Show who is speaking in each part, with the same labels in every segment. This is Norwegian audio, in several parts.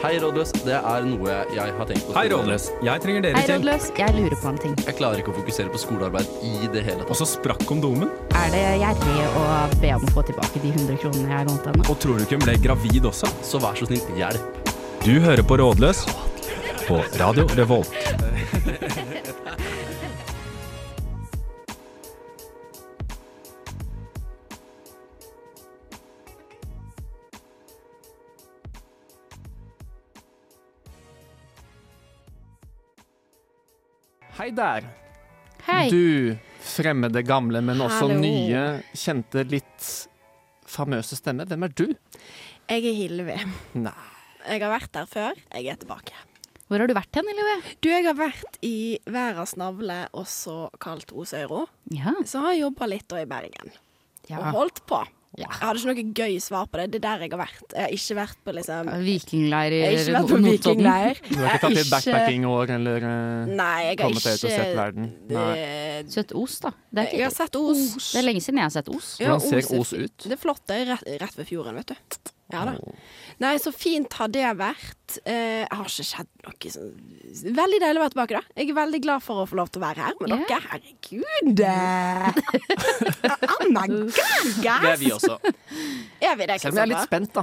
Speaker 1: Hei, rådløs. Det er noe jeg har tenkt på.
Speaker 2: Hei, Rådløs. Jeg trenger dere
Speaker 3: Hei,
Speaker 2: til.
Speaker 3: rådløs. Jeg lurer på en ting.
Speaker 1: Jeg klarer ikke å fokusere på skolearbeid i det hele tatt.
Speaker 2: Og så sprakk kondomen.
Speaker 3: Er det gjerrig å be om å få tilbake de 100 kronene jeg lånte henne?
Speaker 2: Og tror du ikke hun ble gravid også?
Speaker 1: Så vær så snill, hjelp.
Speaker 2: Du hører på Rådløs på Radio Revolt.
Speaker 4: Hei der,
Speaker 3: Hei.
Speaker 4: du fremmede gamle, men også
Speaker 5: Hallo.
Speaker 4: nye, kjente, litt famøse stemme. Hvem er du?
Speaker 5: Jeg er Hilvi.
Speaker 4: Nei.
Speaker 5: Jeg har vært der før, jeg er tilbake.
Speaker 3: Hvor har du vært hen, Ylve?
Speaker 5: Du, jeg har vært i Verdens navle, også kalt Osøyro.
Speaker 3: Ja.
Speaker 5: Så har jeg jobba litt da i Bergen, og
Speaker 3: ja.
Speaker 5: holdt på.
Speaker 3: Ja.
Speaker 5: Jeg hadde ikke noe gøy svar på det. Det er der jeg har vært. Jeg har ikke vært på liksom
Speaker 3: Vikingleir i
Speaker 5: Jeg har ikke vært på
Speaker 3: Notodden.
Speaker 5: vikingleir.
Speaker 4: Du har ikke tatt
Speaker 5: Jeg
Speaker 4: litt
Speaker 5: har ikke-
Speaker 4: backpacking-år eller eh,
Speaker 5: Nei, jeg har
Speaker 4: kommet deg ut og sett
Speaker 5: ikke
Speaker 4: verden? Nei.
Speaker 5: Det-
Speaker 3: Sett ost, da. Det er,
Speaker 5: Jeg har
Speaker 3: ikke,
Speaker 5: sett Os.
Speaker 3: det er lenge siden jeg har sett ost.
Speaker 5: Ja,
Speaker 4: Hvordan ser
Speaker 5: er
Speaker 4: Os
Speaker 5: fi-
Speaker 4: ut? Mm.
Speaker 5: Det er flott. Det er rett, rett ved fjorden, vet du. Ja da. Nei, så fint har det vært. Eh, Jeg har ikke skjedd noe sånn Veldig deilig å være tilbake, da. Jeg er veldig glad for å få lov til å være her med
Speaker 3: Ja.
Speaker 5: dere. Herregud! Eh,
Speaker 6: Ah,
Speaker 5: Oh my god,
Speaker 4: Det
Speaker 5: guys!
Speaker 4: er vi også.
Speaker 5: Er vi det,
Speaker 4: Selv om jeg er litt
Speaker 5: Kristoffer?
Speaker 4: spent, da.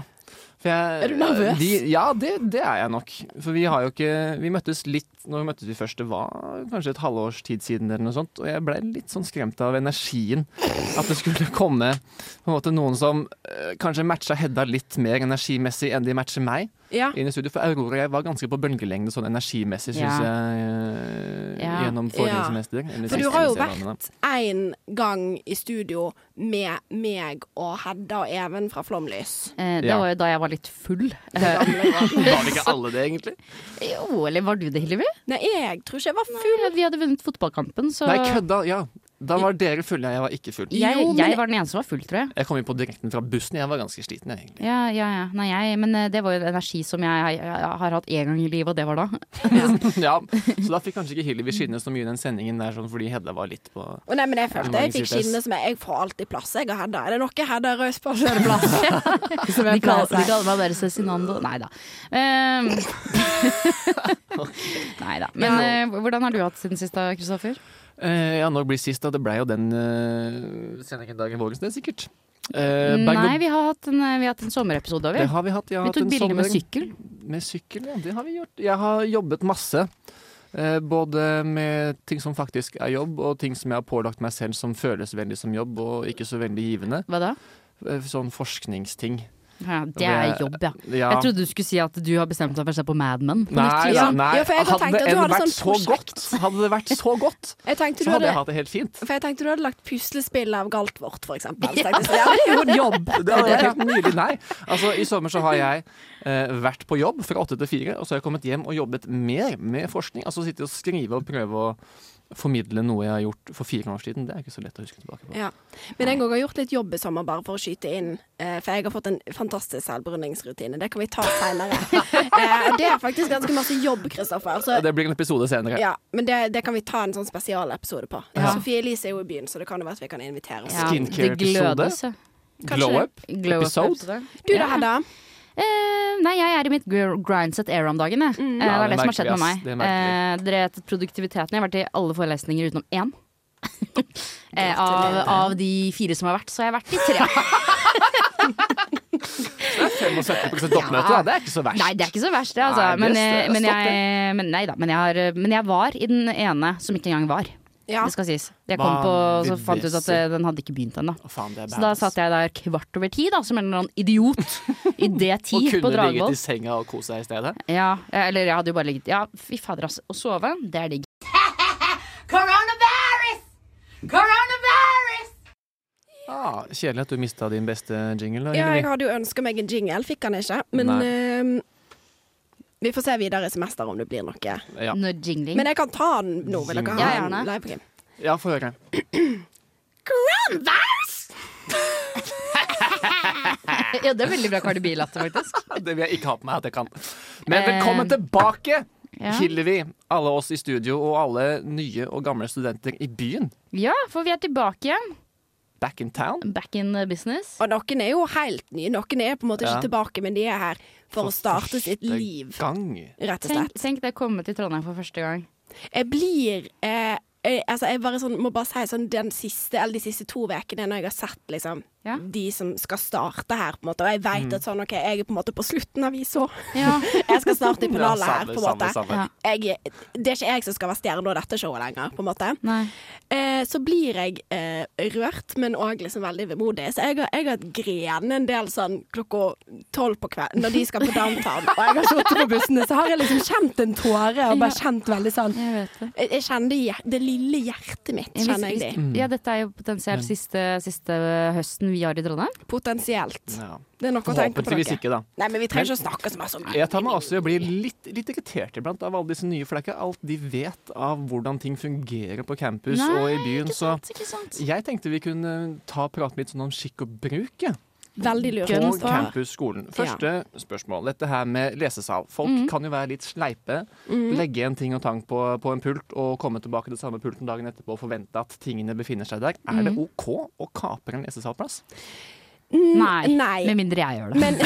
Speaker 4: For jeg,
Speaker 5: Er du nervøs?
Speaker 4: Vi, ja, det, det er jeg nok. For vi har jo ikke Vi møttes litt Når vi møttes vi først, det var kanskje et halvårs tid siden, eller noe sånt, og jeg ble litt sånn skremt av energien. At det skulle komme på en måte noen som eh, kanskje matcha Hedda litt mer energimessig enn de matcher meg.
Speaker 5: Ja.
Speaker 4: Inn i studio, For Aurora og jeg var ganske på bølgelengde sånn energimessig, syns
Speaker 3: Ja.
Speaker 4: jeg, eh,
Speaker 3: Ja.
Speaker 4: gjennom forrige
Speaker 5: Ja.
Speaker 4: semester. eller
Speaker 5: For du
Speaker 4: siste
Speaker 5: har jo
Speaker 4: semester,
Speaker 5: vært én gang i studio med meg og Hedda og Even fra Flomlys.
Speaker 3: Eh, Det
Speaker 4: Ja.
Speaker 3: var jo da jeg var litt full. Eh,
Speaker 4: Var vi ikke alle det, egentlig?
Speaker 3: Jo, eller var du det, Hillevi?
Speaker 5: Nei, jeg tror ikke jeg var full.
Speaker 3: Vi hadde vunnet fotballkampen, så
Speaker 4: Nei, kødda! Ja. Da var dere fulle, jeg var ikke full.
Speaker 3: jeg,
Speaker 5: Jo, men-
Speaker 3: jeg var den eneste som var full, tror jeg.
Speaker 4: Jeg kom inn på direkten fra bussen. Jeg var ganske sliten, jeg, egentlig.
Speaker 3: Ja, ja, ja. Nei, jeg, men eh, det var jo en energi som jeg, jeg har hatt én gang i livet, og det var da.
Speaker 4: ja, så da fikk kanskje ikke Hillevi skinne så mye i den sendingen der sånn fordi Hedda var litt på
Speaker 5: Å, nei, men jeg følte jeg fikk skinne som jeg Jeg får alltid plass, jeg og Hedda. Er det noe Hedda er raus på, så er det plass. Som
Speaker 3: De
Speaker 5: jeg
Speaker 3: kaller,
Speaker 5: pleier å
Speaker 3: de
Speaker 5: si.
Speaker 3: kaller meg bare Cezinando. Nei da. Um, Nei da. Men eh, hvordan har du hatt siden sist da, Kristoffer?
Speaker 4: Eh, Ja, når blir sist, da? Det ble jo den eh, sendingen dagen vågens, det, sikkert. Eh, Berg-
Speaker 3: Nei, vi har hatt en, eh, vi har hatt en sommerepisode, har
Speaker 4: det
Speaker 3: vi.
Speaker 4: har vi hatt. Jeg har
Speaker 3: Vi
Speaker 4: hatt
Speaker 3: tok
Speaker 4: en
Speaker 3: bilder med
Speaker 4: sommer-
Speaker 3: sykkel.
Speaker 4: Med sykkel, ja. Det har vi gjort. Jeg har jobbet masse. eh, Både med ting som faktisk er jobb, og ting som jeg har pålagt meg selv som føles veldig som jobb, og ikke så veldig givende.
Speaker 3: Hva da?
Speaker 4: Eh, Sånn forskningsting.
Speaker 3: Ja, det er jobb, ja.
Speaker 4: Ja.
Speaker 3: Jeg trodde du skulle si at du har bestemt deg for å se på Mad Men. på
Speaker 4: Nei,
Speaker 3: nytt,
Speaker 5: Ja.
Speaker 3: liksom.
Speaker 4: nei.
Speaker 5: Ja, for jeg har
Speaker 4: hadde
Speaker 5: tenkt at
Speaker 4: det
Speaker 5: du
Speaker 4: enn
Speaker 5: hadde
Speaker 4: vært
Speaker 5: sånn
Speaker 4: så godt, hadde det vært så godt,
Speaker 5: Jeg
Speaker 4: så
Speaker 5: tenkte du
Speaker 4: hadde
Speaker 5: hadde
Speaker 4: jeg hatt det helt fint.
Speaker 5: For jeg tenkte du hadde lagt puslespill av Galtvort, for eksempel. Så tenkte jeg, så, ja, men det er jo en jobb.
Speaker 4: Det hadde vært helt nydelig. Nei. Altså, I sommer så har jeg eh, vært på jobb fra åtte til fire, og så har jeg kommet hjem og jobbet mer med forskning. Altså sitte og skrive og prøve å formidle noe jeg har gjort for fire år siden. Det er ikke så lett å huske tilbake på.
Speaker 5: Ja. Men jeg òg har gjort litt jobb i sommer, bare for å skyte inn. eh, For jeg har fått en fantastisk selvbruningsrutine. Det kan vi ta seinere. Det er faktisk ganske masse jobb, Kristoffer. Så
Speaker 4: Det blir en episode senere.
Speaker 5: ja, men det, det kan vi ta en sånn spesialepisode på.
Speaker 3: Ja.
Speaker 5: Sofie Elise er jo i byen, så det kan jo være at vi kan invitere henne.
Speaker 3: Ja,
Speaker 4: Skincare-episode.
Speaker 3: det glødes, ja.
Speaker 5: Kanskje
Speaker 4: Glow
Speaker 5: det.
Speaker 4: up.
Speaker 3: Glow up
Speaker 4: Episode?
Speaker 3: episode.
Speaker 5: Du da,
Speaker 3: Ja.
Speaker 5: Hedda?
Speaker 3: Eh, nei, jeg er i mitt gr- grindset era om dagen. Jeg. Eh, det
Speaker 4: Mm. Ja,
Speaker 3: er det,
Speaker 4: det
Speaker 3: som har
Speaker 4: merker
Speaker 3: skjedd
Speaker 4: vi,
Speaker 3: med meg.
Speaker 4: ass. Det
Speaker 3: Eh, dere vet produktiviteten. Jeg har vært i alle forelesninger utenom én. Eh, av, av de fire som har vært, så har jeg vært i tre.
Speaker 4: 75 oppmøte, da. Det er ikke så verst.
Speaker 3: Nei, det er ikke så verst, det, altså.
Speaker 4: Nei, det
Speaker 3: Men,
Speaker 4: er
Speaker 3: eh,
Speaker 4: stø-
Speaker 3: men,
Speaker 4: stopp
Speaker 3: jeg, men, nei, da, men, jeg har, eh, men jeg var i den ene som ikke engang var.
Speaker 5: Ja.
Speaker 3: Det skal sies. Jeg kom
Speaker 4: Hva
Speaker 3: på, så
Speaker 4: vil
Speaker 3: fant
Speaker 4: det
Speaker 3: jeg ut at
Speaker 4: si?
Speaker 3: eh, den hadde ikke begynt ennå.
Speaker 4: Å, faen, det er
Speaker 3: Så da
Speaker 4: badass.
Speaker 3: satt jeg der kvart over ti, da, som en eller annen idiot i
Speaker 4: og
Speaker 3: D10 på
Speaker 4: kunne ligget
Speaker 3: Dragvoll.
Speaker 4: i senga og kose seg i stedet.
Speaker 3: Ja, eller jeg hadde jo bare ligget Ja, fy fader, altså. Å sove, det er digg.
Speaker 4: Ah, kjedelig at du mista din beste jingle. Da,
Speaker 5: Ja, jeg
Speaker 4: Hillevi.
Speaker 5: hadde jo ønska meg en jingle, fikk han ikke. Men
Speaker 4: Nei.
Speaker 5: ehm, vi får se videre i semester om det blir noe.
Speaker 4: Ja.
Speaker 3: Når jingling.
Speaker 5: Men jeg kan ta den nå, vil dere ha
Speaker 3: Ja,
Speaker 5: den?
Speaker 3: gjerne.
Speaker 5: Nei, ok.
Speaker 4: ja, få høre.
Speaker 3: Ja, det er veldig bra Cardi B-latter, faktisk.
Speaker 4: Det vil jeg ikke ha på meg at jeg kan. Men
Speaker 3: Eh,
Speaker 4: velkommen tilbake,
Speaker 3: ja.
Speaker 4: Hillevi. Alle oss i studio og alle nye og gamle studenter i byen.
Speaker 3: Ja, for vi er tilbake igjen.
Speaker 4: back in town.
Speaker 3: Back in business.
Speaker 5: Og noen er jo helt nye. Noen er på en måte
Speaker 4: Ja.
Speaker 5: ikke tilbake, men de er her for å starte sitt
Speaker 4: første
Speaker 5: liv,
Speaker 4: Gang.
Speaker 5: rett og
Speaker 3: Tenk,
Speaker 5: slett.
Speaker 3: tenk det å komme til Trondheim for første gang.
Speaker 5: Jeg blir eh, jeg, altså jeg bare sånn, må bare si sånn den siste, eller de siste to ukene når jeg har sett liksom,
Speaker 3: Ja.
Speaker 5: de som skal starte her, på en måte. og
Speaker 4: Mm.
Speaker 5: jeg vet at sånn, ok, jeg er på en måte på slutten av visa.
Speaker 3: Ja.
Speaker 5: Jeg skal starte i
Speaker 4: Ja,
Speaker 5: pennalet her,
Speaker 4: samme,
Speaker 5: på en
Speaker 4: samme,
Speaker 5: måte.
Speaker 4: samme.
Speaker 3: Ja.
Speaker 5: Jeg, det er ikke jeg som skal være stjerna i dette showet lenger, på en måte.
Speaker 3: Nei.
Speaker 5: Eh, så blir jeg eh, rørt, men òg liksom veldig vemodig. Så jeg har, jeg har grene en del sånn klokka tolv på kvelden når de skal på downtown, og jeg har sittet på bussene, så har jeg liksom kjent en tåre og bare kjent veldig sånn
Speaker 3: Jeg vet det.
Speaker 5: Jeg, jeg kjenner det, hjer- det lille hjertet mitt,
Speaker 3: Hvis-
Speaker 5: kjenner jeg
Speaker 3: hvis-
Speaker 5: det.
Speaker 3: Ja, dette er jo potensielt siste, siste høsten vi har i Trondheim.
Speaker 5: Potensielt.
Speaker 4: Ja.
Speaker 5: Det er noe å tenke på.
Speaker 4: Forhåpentligvis
Speaker 5: dere.
Speaker 4: ikke, da.
Speaker 5: Nei, men vi trenger ikke å snakke så mye om det.
Speaker 4: Jeg tar meg også i å bli litt, litt irritert iblant av alle disse nye, for det er ikke alt de vet av hvordan ting fungerer på campus
Speaker 3: Nei,
Speaker 4: og i byen. Så
Speaker 3: ikke sant.
Speaker 4: jeg tenkte vi kunne ta prate litt sånn om skikk og bruk jeg,
Speaker 5: Veldig lurt.
Speaker 4: på
Speaker 3: Gønn på.
Speaker 4: campusskolen. Første spørsmål. Dette her med lesesal. Folk
Speaker 5: Mhm.
Speaker 4: kan jo være litt sleipe. Legge igjen ting og tang på, på en pult og komme tilbake til samme pulten dagen etterpå og forvente at tingene befinner seg der. Er
Speaker 5: Mhm.
Speaker 4: det OK å kapre en lesesalplass?
Speaker 3: Nei.
Speaker 5: Mm, Nei.
Speaker 3: Med mindre jeg gjør det.
Speaker 5: Men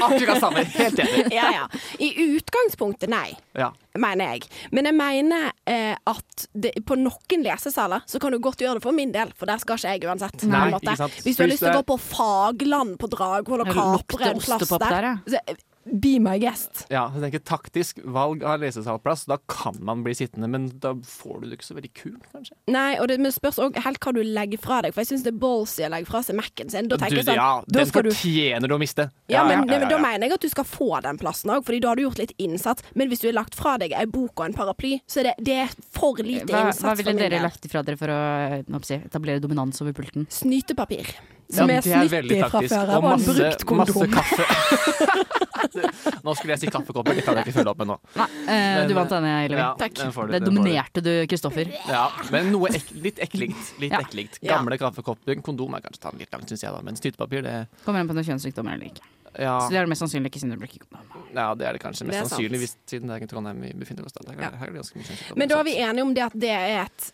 Speaker 4: Akkurat samme. Helt enig.
Speaker 5: ja, ja. I utgangspunktet, nei.
Speaker 4: Ja.
Speaker 5: mener jeg. Men jeg mener eh, at det, på noen lesesaler så kan du godt gjøre det for min del, for der skal ikke jeg uansett. på en
Speaker 4: Nei,
Speaker 5: måte.
Speaker 4: ikke sant.
Speaker 5: Hvis du har
Speaker 4: Hvis
Speaker 5: lyst til å
Speaker 4: det-
Speaker 5: gå på Fagland på Dragvoll og
Speaker 3: Ja, du
Speaker 5: kapre
Speaker 3: lukter
Speaker 5: en plass
Speaker 3: ostepop
Speaker 5: der,
Speaker 3: der, ja.
Speaker 5: så, eh, be my guest.
Speaker 4: Ja, jeg tenker taktisk valg av lesesalplass. Da kan man bli sittende, men da får du det ikke så veldig kult, kanskje.
Speaker 5: Nei, og det men det spørs òg helt hva du legger fra deg, for jeg syns det er ballsy å legge fra seg Mac-en sin. Da tenker jeg sånn,
Speaker 4: ja,
Speaker 5: da
Speaker 4: den
Speaker 5: skal du
Speaker 4: fortjener du å miste.
Speaker 5: ja, men,
Speaker 4: ja,
Speaker 5: men Da mener jeg at du skal få den plassen òg, Fordi da har du gjort litt innsats. Men hvis du har lagt fra deg ei bok og en paraply, så er det, det er for lite
Speaker 3: Hva,
Speaker 5: innsats.
Speaker 3: hva
Speaker 5: for
Speaker 3: ville
Speaker 5: min
Speaker 3: dere
Speaker 5: del.
Speaker 3: lagt ifra dere for å nå må jeg si, etablere dominans over pulten?
Speaker 5: Snytepapir.
Speaker 4: Ja,
Speaker 5: Som
Speaker 4: det
Speaker 5: er snyttig
Speaker 4: veldig
Speaker 5: fra
Speaker 4: taktisk,
Speaker 5: før av, og en
Speaker 4: masse,
Speaker 5: brukt kondom.
Speaker 4: masse kaffe. nå skulle jeg si kaffekopper, det kan jeg ikke følge opp med nå.
Speaker 3: Nei, eh,
Speaker 4: Men,
Speaker 3: du vant denne, Elvin.
Speaker 4: ja, Takk. den får du,
Speaker 3: Det
Speaker 4: den får du.
Speaker 3: dominerte du, Kristoffer.
Speaker 4: Ja, men noe ek litt ekkelikt. Litt
Speaker 3: Ja.
Speaker 4: ekkelikt.
Speaker 5: Ja.
Speaker 4: Gamle kaffekopper. Kondom er kanskje å ta den litt langt, syns jeg, da. Men stytepapir, det
Speaker 3: Kommer an på om du har kjønnssykdommer eller ikke.
Speaker 4: ja,
Speaker 3: Så det er det mest sannsynlig ikke siden du bruker kondom.
Speaker 4: ja, det er det kanskje mest
Speaker 5: Det er sant.
Speaker 4: sannsynlig, hvis, siden det er i Trondheim vi befinner oss. Da. Her,
Speaker 5: Ja.
Speaker 4: her er det ganske mye kjønnssykdommer,
Speaker 5: Men da er
Speaker 4: sant?
Speaker 5: vi enige om det at det er et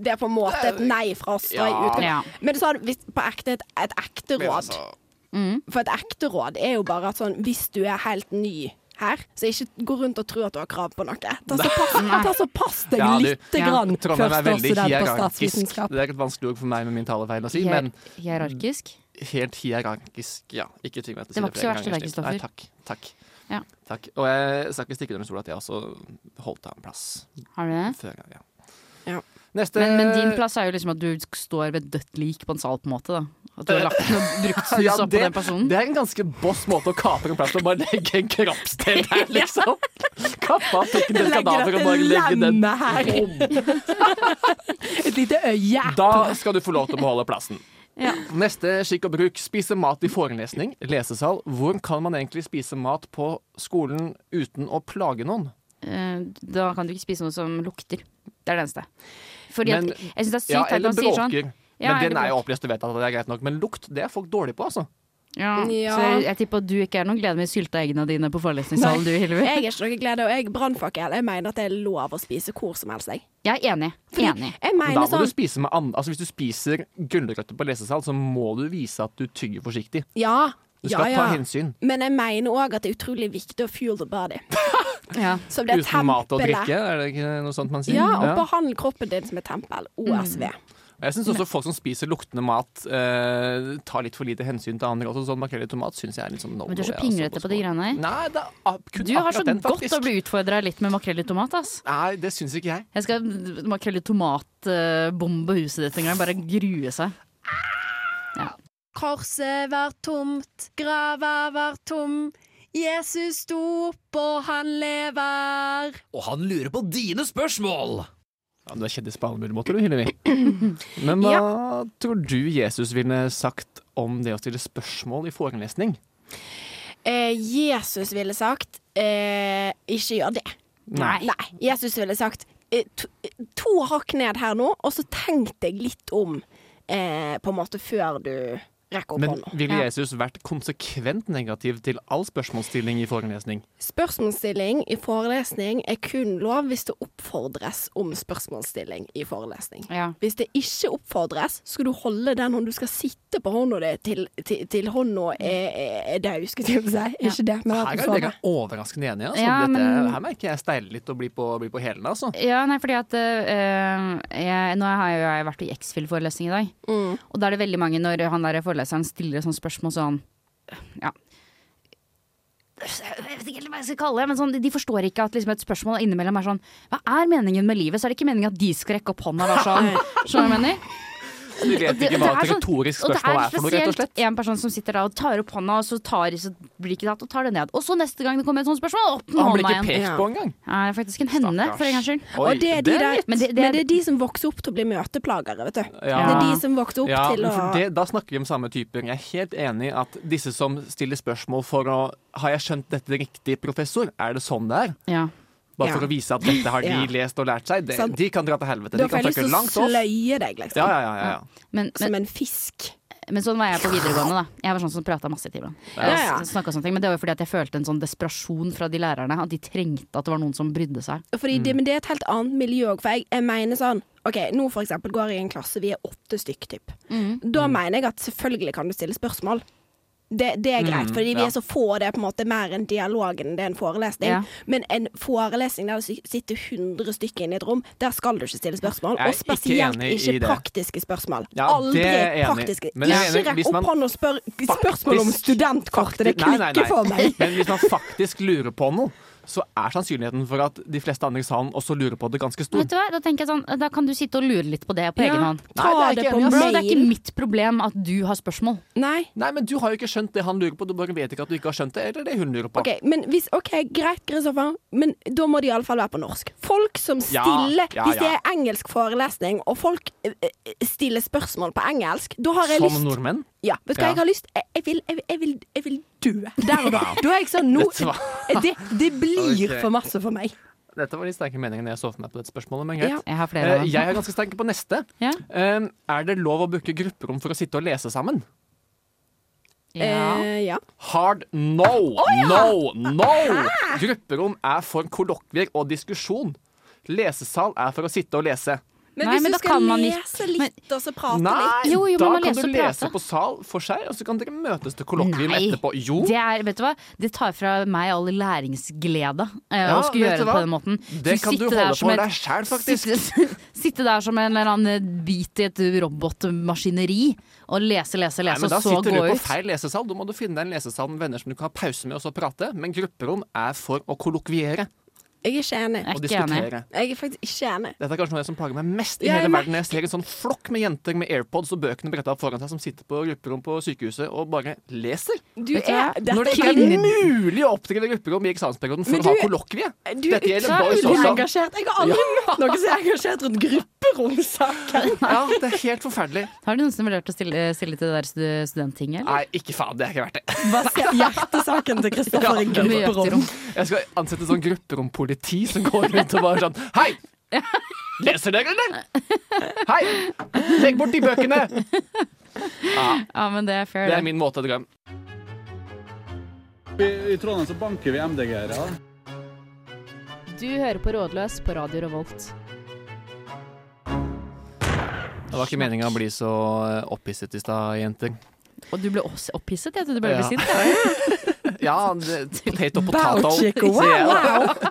Speaker 5: Det er på en måte et nei fra oss. Da, i
Speaker 4: Ja.
Speaker 5: utgang-
Speaker 3: Ja.
Speaker 5: Men sånn, hvis, på ekte et, et ekte
Speaker 4: Men
Speaker 5: råd.
Speaker 4: altså-
Speaker 5: For et ekte råd er jo bare at sånn hvis du er helt ny her, så ikke gå rundt og tro at du har krav på noe. Ta så pass, ta så pass deg
Speaker 4: Ja, du-
Speaker 5: lite
Speaker 3: Ja.
Speaker 5: grann
Speaker 4: Trondheim er
Speaker 5: først
Speaker 4: veldig
Speaker 5: også der på
Speaker 4: hierarkisk.
Speaker 5: statsvitenskap.
Speaker 4: Det er et vanskelig ord for meg med min talefeil å si,
Speaker 3: Hier
Speaker 4: men
Speaker 3: hierarkisk.
Speaker 4: helt hierarkisk, ja. Ikke tving meg til å si
Speaker 3: Det var ikke så verst
Speaker 4: flere
Speaker 3: i dag,
Speaker 4: ganger, Snipp.
Speaker 3: Kristoffer.
Speaker 4: Nei, takk. takk.
Speaker 3: Ja.
Speaker 4: Takk. Og jeg skal ikke stikke under stol at jeg også holdt av en plass
Speaker 3: Har du det?
Speaker 4: før. jeg- Ja.
Speaker 5: Ja.
Speaker 4: Neste
Speaker 3: Men, men din plass er jo liksom at du står ved et dødt lik på en sal, på en måte. da At du har lagt noe brukt snus
Speaker 4: Ja,
Speaker 3: opp på den personen.
Speaker 4: det er en ganske boss måte å kapre en plass på. Bare legge en kroppsdel der, liksom. Kappe av pikken til et kadaver og bare legge den
Speaker 5: lemmet her. Et lite øye.
Speaker 4: Da skal du få lov til å beholde plassen.
Speaker 3: Ja.
Speaker 4: Neste skikk og bruk spise mat i forelesning, lesesal. Hvor kan man egentlig spise mat på skolen uten å plage noen?
Speaker 3: Eh, Da kan du ikke spise noe som lukter. Det er det eneste. Fordi
Speaker 4: Men-
Speaker 3: at, jeg syns det er sykt
Speaker 4: Ja,
Speaker 3: teit at
Speaker 4: eller
Speaker 3: man sier sånn.
Speaker 4: bråker.
Speaker 3: Ja,
Speaker 4: Men
Speaker 3: eller
Speaker 4: den er jo
Speaker 3: bråk.
Speaker 4: opplest og vet at det er greit nok. Men lukt, det er folk dårlige på, altså.
Speaker 3: Ja.
Speaker 5: Ja.
Speaker 3: Så jeg tipper at du ikke er noen glede med sylteeggene dine på forelesningssalen, Sånn du, Hilvi.
Speaker 5: Jeg er ikke noe glede, og jeg er brannfakkel. Jeg mener at det er lov å spise hvor som helst, jeg.
Speaker 3: Jeg er enig. Enig.
Speaker 5: Jeg
Speaker 4: Men Da
Speaker 5: mener
Speaker 4: må
Speaker 5: sånn
Speaker 4: du spise med and altså, Hvis du spiser gulrøtter på lesesal, så må du vise at du tygger forsiktig.
Speaker 5: Ja.
Speaker 4: Du skal
Speaker 5: ja,
Speaker 4: ta
Speaker 5: ja.
Speaker 4: hensyn.
Speaker 5: Men jeg mener òg at det er utrolig viktig å fuel the body.
Speaker 3: Ja.
Speaker 5: Som det
Speaker 4: Uten mat og
Speaker 5: tempelet.
Speaker 4: drikke, Mm, er det ikke noe sånt man sier?
Speaker 5: Ja, og behandle kroppen din som et tempel.
Speaker 4: Mm.
Speaker 5: OSV.
Speaker 4: Og Jeg syns også folk som spiser luktende mat, eh, tar litt for lite hensyn til andre. Også sånn makrell i tomat syns jeg er litt sånn no
Speaker 3: Men du er så
Speaker 4: go, jeg, altså,
Speaker 3: pinglete på de greiene her.
Speaker 4: Nei, det er ab- kun
Speaker 3: Du har
Speaker 4: akkurat
Speaker 3: så
Speaker 4: den,
Speaker 3: godt å
Speaker 4: faktisk.
Speaker 3: bli utfordra litt med makrell i tomat, ass.
Speaker 4: Nei, det syns ikke jeg.
Speaker 3: Jeg skal ha makrell i tomatbombe huset ditt en gang. Bare grue seg. Ja.
Speaker 7: Korset var tomt, grava var tom. Jesus sto opp, og han lever.
Speaker 8: og han lurer på dine spørsmål.
Speaker 4: Ja, du er kjendis på alle mulige måter, du, Hillevi. Men hva tror du Jesus ville sagt om det å stille spørsmål i forelesning?
Speaker 5: Eh, Jesus ville sagt eh, ikke gjør det.
Speaker 4: Nei.
Speaker 5: Jesus ville sagt eh, to, to hakk ned her nå, og så tenk deg litt om eh, på en måte før du rekke opp
Speaker 4: Men
Speaker 5: hånda.
Speaker 4: ville
Speaker 3: Ja.
Speaker 4: Jesus vært konsekvent negativ til all spørsmålsstilling i forelesning?
Speaker 5: Spørsmålsstilling i forelesning er kun lov hvis det oppfordres om spørsmålsstilling i forelesning.
Speaker 3: Ja.
Speaker 5: Hvis det ikke oppfordres, skal du holde den hånden du skal sitte på hånda di til, til, til hånda er, er- er dau, skulle jeg til å si. Ikke det, men
Speaker 4: Her
Speaker 5: sånn. at
Speaker 4: er
Speaker 5: du
Speaker 4: jeg
Speaker 5: får det.
Speaker 4: dere overraskende enige. Altså.
Speaker 3: Ja,
Speaker 4: Dette,
Speaker 3: men-
Speaker 4: Her merker jeg steiler litt og blir på, blir på hælene. Altså.
Speaker 3: Ja, nei, fordi at øh, jeg, Nå har jeg jo jeg vært i X-Fill-forelesning i dag. Og da er det veldig mange når han der foreleseren stiller et sånt spørsmål sånn Ja. Jeg vet ikke helt hva jeg skal kalle det, men sånn, de forstår ikke at liksom, et spørsmål innimellom er sånn Hva er meningen med livet? Så er det ikke meningen at de skal rekke opp hånda og være sånn. Skjønner du hva jeg mener?
Speaker 4: De vet ikke hva
Speaker 3: er
Speaker 4: et
Speaker 3: sånn-
Speaker 4: retorisk
Speaker 3: og det
Speaker 4: spørsmål er for noe, rett og slett.
Speaker 3: spesielt en person som sitter der og tar opp hånda, og så, tar, så blir det ikke tatt, og tar det ned. Og så neste gang det kommer et sånt spørsmål, opp
Speaker 4: Og
Speaker 3: med
Speaker 4: han blir
Speaker 3: hånda
Speaker 4: ikke
Speaker 3: igjen.
Speaker 4: pekt
Speaker 5: Ja.
Speaker 4: på engang.
Speaker 3: Nei, det er faktisk en henne, for en gangs skyld.
Speaker 4: Oi,
Speaker 5: Og det er de
Speaker 4: det er
Speaker 5: der,
Speaker 3: Men
Speaker 5: men,
Speaker 3: det-
Speaker 5: det,
Speaker 3: det-
Speaker 5: er de som vokser opp til å bli møteplagere, vet du.
Speaker 4: Ja.
Speaker 5: Det er de som vokser opp
Speaker 4: Ja,
Speaker 5: til å
Speaker 4: for det, Da snakker vi om samme typer. Jeg er helt enig i at disse som stiller spørsmål for å Har jeg skjønt dette riktig, professor? Er det sånn det er?
Speaker 3: Ja.
Speaker 4: Bare
Speaker 5: Ja.
Speaker 4: for å vise at dette har de
Speaker 5: Ja. Sånn.
Speaker 4: lest og lært seg. De,
Speaker 5: Sant.
Speaker 4: de kan dra til helvete.
Speaker 5: Da
Speaker 4: De
Speaker 5: får
Speaker 4: kan
Speaker 5: jeg lyst
Speaker 4: trykke
Speaker 5: til å
Speaker 4: langt opp.
Speaker 5: sløye deg, liksom.
Speaker 4: Ja, ja, ja, ja, ja.
Speaker 3: Men, men,
Speaker 5: Som en fisk.
Speaker 3: Men sånn var jeg på videregående. da Jeg var sånn som prata masse i timen.
Speaker 5: Ja, ja.
Speaker 3: Jeg snakket sånne ting, Men det var jo fordi at jeg følte en sånn desperasjon fra de lærerne. At de trengte at det var noen som brydde seg.
Speaker 5: Fordi
Speaker 4: Mm.
Speaker 5: det, men det er et helt annet miljø òg. For jeg, jeg mener sånn OK, nå for eksempel går jeg i en klasse, vi er åtte stykk, typ.
Speaker 4: Mm.
Speaker 5: Da mener jeg at selvfølgelig kan du stille spørsmål. Det, det er greit, fordi vi
Speaker 4: Mm. ja.
Speaker 5: er så få, og det er på en måte mer en dialog enn det er en forelesning.
Speaker 3: Ja.
Speaker 5: Men en forelesning der det sy- sitter 100 stykker inne i et rom, der skal du ikke stille spørsmål.
Speaker 4: Jeg er
Speaker 5: Og
Speaker 4: ikke
Speaker 5: spesielt
Speaker 4: enig i
Speaker 5: ikke,
Speaker 4: det.
Speaker 5: praktiske spørsmål.
Speaker 4: Ja,
Speaker 5: Aldri
Speaker 4: det er jeg enig i.
Speaker 5: praktiske.
Speaker 4: Men jeg er
Speaker 5: Ikke
Speaker 4: enig,
Speaker 5: rekk
Speaker 4: hvis man
Speaker 5: opp hånden og spør spørsmål om
Speaker 4: faktisk-
Speaker 5: studentkortet. Det
Speaker 4: Nei, nei, nei.
Speaker 5: klikker for meg.
Speaker 4: Men hvis man faktisk lurer på noe, så er sannsynligheten for at de fleste andre i salen også lurer på det, ganske stor.
Speaker 3: Vet du hva, Da tenker jeg sånn Da kan du sitte og lure litt på det på
Speaker 5: Ja.
Speaker 3: egen hånd.
Speaker 5: Ta
Speaker 4: Nei, det er
Speaker 5: det
Speaker 4: ikke
Speaker 5: på
Speaker 4: enig,
Speaker 3: Bro, det er ikke
Speaker 5: mail.
Speaker 3: mitt problem at du har spørsmål.
Speaker 5: Nei.
Speaker 4: Nei, men du har jo ikke skjønt det han lurer på. Du bare vet ikke at du ikke har skjønt det, eller det hun lurer på.
Speaker 5: Ok, men hvis, ok, Greit, Kristoffer, men da må det iallfall være på norsk. Folk som
Speaker 4: Ja,
Speaker 5: stiller
Speaker 4: ja,
Speaker 5: Hvis det
Speaker 4: ja.
Speaker 5: er engelsk forelesning, og folk eh, eh, stiller spørsmål på engelsk, da har jeg
Speaker 4: Som
Speaker 5: lyst
Speaker 4: nordmenn.
Speaker 5: ja, Vet du hva
Speaker 4: Ja.
Speaker 5: jeg har lyst? Jeg, jeg, vil, jeg, vil- jeg, vil, jeg vil dø der og da. Da er jeg sånn nå,
Speaker 4: Vet du
Speaker 5: det, det blir
Speaker 4: Ok.
Speaker 5: for masse for meg.
Speaker 4: Dette var de sterke meningene jeg så for meg på dette spørsmålet, men greit.
Speaker 5: Ja.
Speaker 3: Jeg har flere.
Speaker 4: Eh, Jeg er ganske sterk på neste.
Speaker 3: Ja.
Speaker 4: Eh, Er det lov å booke grupperom for å sitte og lese sammen?
Speaker 3: Ja.
Speaker 5: Eh, ja.
Speaker 4: Hard no! No! No! Grupperom er for kollokvier og diskusjon. Lesesal er for å sitte og lese.
Speaker 5: Men
Speaker 3: Nei,
Speaker 5: hvis
Speaker 3: men da
Speaker 5: du skal
Speaker 3: kan man ikke-
Speaker 5: lese litt, og så prate litt
Speaker 4: Nei,
Speaker 3: Jo, jo, men
Speaker 4: da
Speaker 3: man
Speaker 4: kan
Speaker 3: leser
Speaker 4: du
Speaker 3: og
Speaker 4: lese
Speaker 3: prater.
Speaker 4: på sal for seg, og så kan dere møtes til kollokvium
Speaker 3: Nei.
Speaker 4: etterpå. Jo,
Speaker 3: Det er, vet du hva, det tar fra meg all læringsglede eh,
Speaker 4: Ja,
Speaker 3: å skulle gjøre
Speaker 4: vet du
Speaker 3: det på
Speaker 4: hva?
Speaker 3: den måten.
Speaker 4: det
Speaker 3: Skulle
Speaker 4: kan du
Speaker 3: sitte der
Speaker 4: holde
Speaker 3: som
Speaker 4: for
Speaker 3: et-
Speaker 4: deg sjæl, faktisk.
Speaker 3: Sitte, sitte der som en eller annen bit i et robotmaskineri og lese, lese,
Speaker 4: Nei,
Speaker 3: lese,
Speaker 4: men da
Speaker 3: og altså så
Speaker 4: sitter
Speaker 3: gå
Speaker 4: du på
Speaker 3: ut.
Speaker 4: feil lesesal. Da må du finne deg en lesesal med venner som du kan ha pause med og så prate. Men grupperom er for å kollokviere
Speaker 5: Jeg er ikke enig.
Speaker 3: Jeg
Speaker 4: og
Speaker 3: er ikke enig.
Speaker 4: diskutere.
Speaker 5: Jeg er faktisk ikke enig.
Speaker 4: Dette er kanskje noe som plager meg mest i
Speaker 5: Ja, jeg
Speaker 4: hele verden. Jeg ser en sånn flokk med jenter med AirPods og bøkene bretta opp foran seg, som sitter på grupperom på sykehuset og bare leser.
Speaker 5: Du
Speaker 3: Vet du hva?
Speaker 5: er
Speaker 4: Når det
Speaker 5: Dette
Speaker 4: ikke
Speaker 5: er
Speaker 4: er mulig å oppdrive grupperom i eksamensperioden for
Speaker 5: Men
Speaker 4: å
Speaker 5: du-
Speaker 4: ha kollokvie.
Speaker 5: Du er
Speaker 4: Dette gjelder boys
Speaker 5: utrolig
Speaker 4: også.
Speaker 5: engasjert. Jeg har aldri møtt noen som er engasjert rundt grupperomsaken.
Speaker 4: Ja, det er helt forferdelig.
Speaker 3: Har du noensinne vurdert å stille, stille til det der stud- studenttinget? eller?
Speaker 4: Nei, ikke faen, det er ikke verdt det.
Speaker 5: Hjertesaken til Kristoffer er grupperom.
Speaker 4: Jeg skal ansette sånn grupperompoliti som går rundt og bare sånn Hei! Leser dere, eller? Hei! Legg bort de bøkene!
Speaker 3: Ja, men det er fair.
Speaker 4: Det
Speaker 3: det.
Speaker 4: er min måte å drømme.
Speaker 9: I Trondheim så banker vi MDG-ere.
Speaker 10: Du hører på Rådløs på Radio Revolt.
Speaker 4: Det var ikke meninga å bli så eh, opphisset i stad, jenter.
Speaker 3: Og du ble også opphisset, jeg trodde du bare
Speaker 4: Ja.
Speaker 3: ble sint. jeg.
Speaker 4: Ja, det- potato potato.
Speaker 5: chick, wow,
Speaker 4: sier jeg da.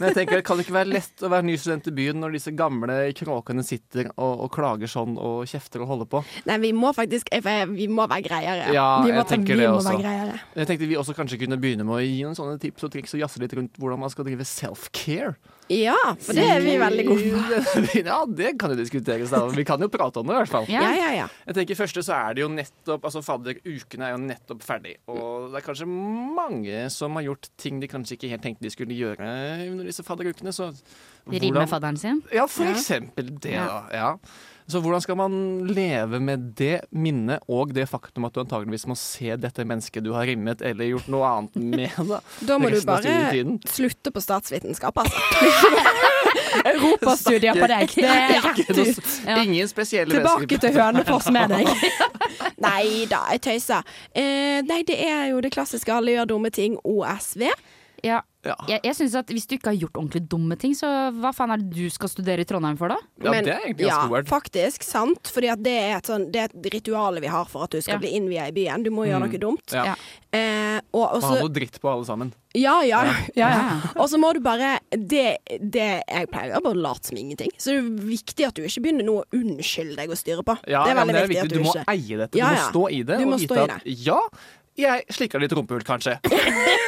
Speaker 4: Men jeg tenker, kan det ikke være lett å være ny student i byen når disse gamle kråkene sitter og, og klager sånn og kjefter og holder på?
Speaker 5: Nei, vi må faktisk eh, Vi må være greiere.
Speaker 4: Ja,
Speaker 5: vi må,
Speaker 4: jeg tenker
Speaker 5: vi
Speaker 4: det
Speaker 5: må
Speaker 4: også.
Speaker 5: Være greiere.
Speaker 4: Jeg tenkte vi også kanskje kunne begynne med å gi noen sånne tips og triks og jazze litt rundt hvordan man skal drive self-care.
Speaker 5: Ja, for det er vi veldig gode på.
Speaker 4: Ja, det kan jo diskuteres, da. Vi kan jo prate om det, i hvert fall.
Speaker 3: Ja.
Speaker 5: Ja, ja, ja.
Speaker 4: Jeg tenker første så er det jo nettopp Altså fadderukene er jo nettopp ferdig Og det er kanskje mange som har gjort ting de kanskje ikke helt tenkte de skulle gjøre under disse fadderukene. Så
Speaker 3: Rim med fadderen sin.
Speaker 4: Ja, for eksempel det, da. Ja. Så hvordan skal man leve med det minnet og det faktum at du antageligvis må se dette mennesket du har rimmet eller gjort noe annet med? Da,
Speaker 5: Da må du
Speaker 4: resten av
Speaker 5: bare
Speaker 4: studietiden?
Speaker 5: slutte på statsvitenskap, altså.
Speaker 6: Europastudier på deg. Det er rett ut.
Speaker 3: Ja.
Speaker 4: Ingen spesielle
Speaker 6: Tilbake til Hønefoss med deg.
Speaker 5: Nei da, jeg tøyser. Eh, nei, det er jo det klassiske alle gjør dumme ting, OSV.
Speaker 3: Ja.
Speaker 4: Ja.
Speaker 3: Jeg, jeg synes at Hvis du ikke har gjort ordentlig dumme ting, så hva faen er det du skal studere i Trondheim for, da?
Speaker 4: Ja, det er egentlig ganske weird.
Speaker 5: faktisk, sant. Fordi at det er et, sånn, det er et ritual vi har for at du
Speaker 3: Ja.
Speaker 5: skal bli innvia i byen. Du må gjøre noe dumt.
Speaker 4: Mm. Ja.
Speaker 3: Ja.
Speaker 5: Eh, og og
Speaker 4: Man
Speaker 5: så
Speaker 4: har noe dritt på alle sammen.
Speaker 5: Ja, ja.
Speaker 6: Ja,
Speaker 5: Og så må du bare det, det jeg pleier å gjøre, bare late som ingenting. Så det er viktig at du ikke begynner nå å unnskylde deg og styre på.
Speaker 4: Ja, ja,
Speaker 5: det er veldig
Speaker 4: men det er
Speaker 5: viktig,
Speaker 4: viktig.
Speaker 5: at du,
Speaker 4: Du må
Speaker 5: ikke
Speaker 4: eie dette.
Speaker 5: Ja,
Speaker 4: Du må
Speaker 5: ja.
Speaker 4: stå i det
Speaker 5: Du må
Speaker 4: og
Speaker 5: stå
Speaker 4: vite
Speaker 5: i
Speaker 4: at ja, jeg slikka litt rumpehull, kanskje.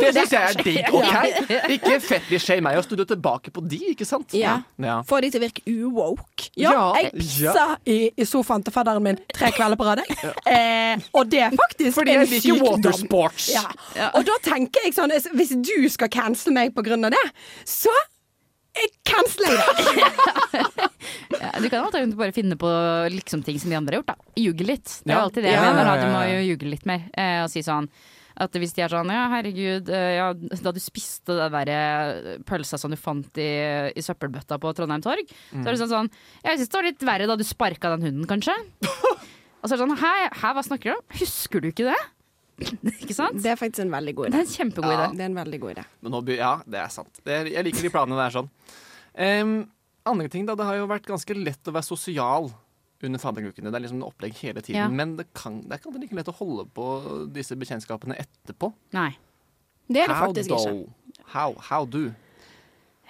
Speaker 4: Det syns jeg er digg. OK? Ikke fetisj meg og studio tilbake på de, ikke sant?
Speaker 5: Ja.
Speaker 4: ja.
Speaker 5: sånn, Få de til å virke uwoke.
Speaker 6: Ja,
Speaker 4: Ja,
Speaker 6: jeg pissa i, i sofaen til fadderen min tre kvelder på rad. jeg. Eh, og det er faktisk
Speaker 4: Fordi
Speaker 6: en
Speaker 4: jeg liker
Speaker 6: sykdom.
Speaker 4: watersports.
Speaker 6: Ja. Og da tenker jeg sånn Hvis du skal cancele meg på grunn av det, så eh, canceler jeg deg.
Speaker 3: Ja, Du kan alltid bare finne på liksom ting som de andre har gjort, da. Ljuge litt. Det er
Speaker 4: Ja.
Speaker 3: jo alltid det jeg
Speaker 4: Ja,
Speaker 3: mener. Da.
Speaker 4: ja,
Speaker 3: Du må
Speaker 4: ja, ja.
Speaker 3: jo ljuge litt mer eh, og si sånn at hvis de er sånn ja, herregud, eh, ja, da du spiste den derre pølsa som du fant i, i søppelbøtta på Trondheim torg, så er det sånn sånn Jeg syns det var litt verre da du sparka den hunden, kanskje. og så er det sånn Hæ, hæ hva snakker du om? Husker du ikke det? ikke sant?
Speaker 5: Det er faktisk en veldig
Speaker 3: Det
Speaker 5: god
Speaker 3: er
Speaker 5: idé.
Speaker 3: en kjempegod
Speaker 5: Ja,
Speaker 3: idé.
Speaker 5: det er en veldig god idé.
Speaker 4: Men nå, be- ja, det er sant. Det er, jeg liker de planene der sånn. Em, andre ting, da. Det har jo vært ganske lett å være sosial under fadderukene. Det er liksom opplegg hele tiden.
Speaker 3: Ja.
Speaker 4: Men det, kan, det er ikke alltid like lett å holde på disse bekjentskapene etterpå.
Speaker 3: Nei.
Speaker 5: Det er det faktisk ikke.
Speaker 4: How, how do?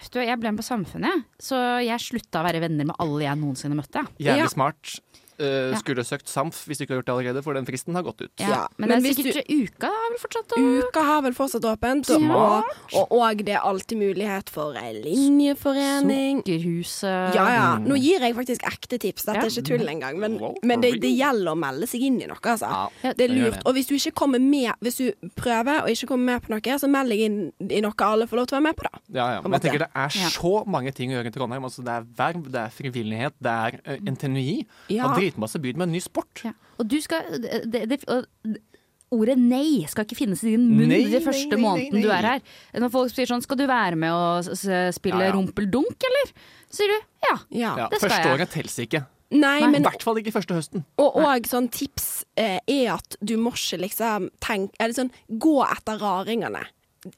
Speaker 3: Vet Du, jeg ble med på Samfunnet, jeg. så jeg slutta å være venner med alle jeg noensinne møtte. jeg.
Speaker 4: Jævlig
Speaker 5: Ja.
Speaker 4: smart. Eh, skulle søkt SAMF hvis du ikke har gjort det allerede, for den fristen har gått ut.
Speaker 5: Ja,
Speaker 3: Men,
Speaker 5: men
Speaker 3: det er
Speaker 5: hvis
Speaker 3: sikkert uka er vel fortsatt å
Speaker 5: Uka har vel fortsatt åpent, og-
Speaker 4: Smart.
Speaker 5: og, og det er alltid mulighet for ei linjeforening.
Speaker 3: Sukkerhuset
Speaker 5: Ja, ja. Nå gir jeg faktisk ekte tips, dette
Speaker 3: Ja.
Speaker 5: er ikke tull engang. Men,
Speaker 4: Wow, for
Speaker 5: men det, det
Speaker 4: real.
Speaker 5: gjelder å melde seg inn i noe, altså.
Speaker 3: Ja,
Speaker 5: Det er
Speaker 4: det gjør
Speaker 5: lurt.
Speaker 4: det.
Speaker 5: Og hvis du ikke kommer med Hvis du prøver og ikke kommer med på noe, så meld deg inn i noe alle får lov til å være med på, da.
Speaker 4: Ja, ja. Men jeg tenker det er
Speaker 3: Ja.
Speaker 4: så mange ting å gjøre i Trondheim. Altså, det er verv, det er frivillighet, det er eh, NTNUI.
Speaker 5: Mm. Ja.
Speaker 4: Og dritmasse byd med en ny sport.
Speaker 3: Ja. Og du skal det, det, og Ordet nei skal ikke finnes i din munn
Speaker 4: Nei,
Speaker 3: den
Speaker 4: nei,
Speaker 3: første
Speaker 4: nei, nei,
Speaker 3: måneden du
Speaker 4: nei.
Speaker 3: er her. Når folk sier sånn 'skal du være med og s- s- spille
Speaker 4: Ja, ja.
Speaker 3: rumpeldunk', eller? Så sier du ja.
Speaker 5: Ja.
Speaker 4: Ja,
Speaker 3: det skal
Speaker 4: første
Speaker 3: jeg.
Speaker 4: året tels ikke.
Speaker 5: Nei,
Speaker 4: I
Speaker 5: men
Speaker 4: hvert fall ikke første høsten.
Speaker 5: Og, og sånn tips eh, er at du må ikke liksom tenke Eller sånn, gå etter raringene. Eh,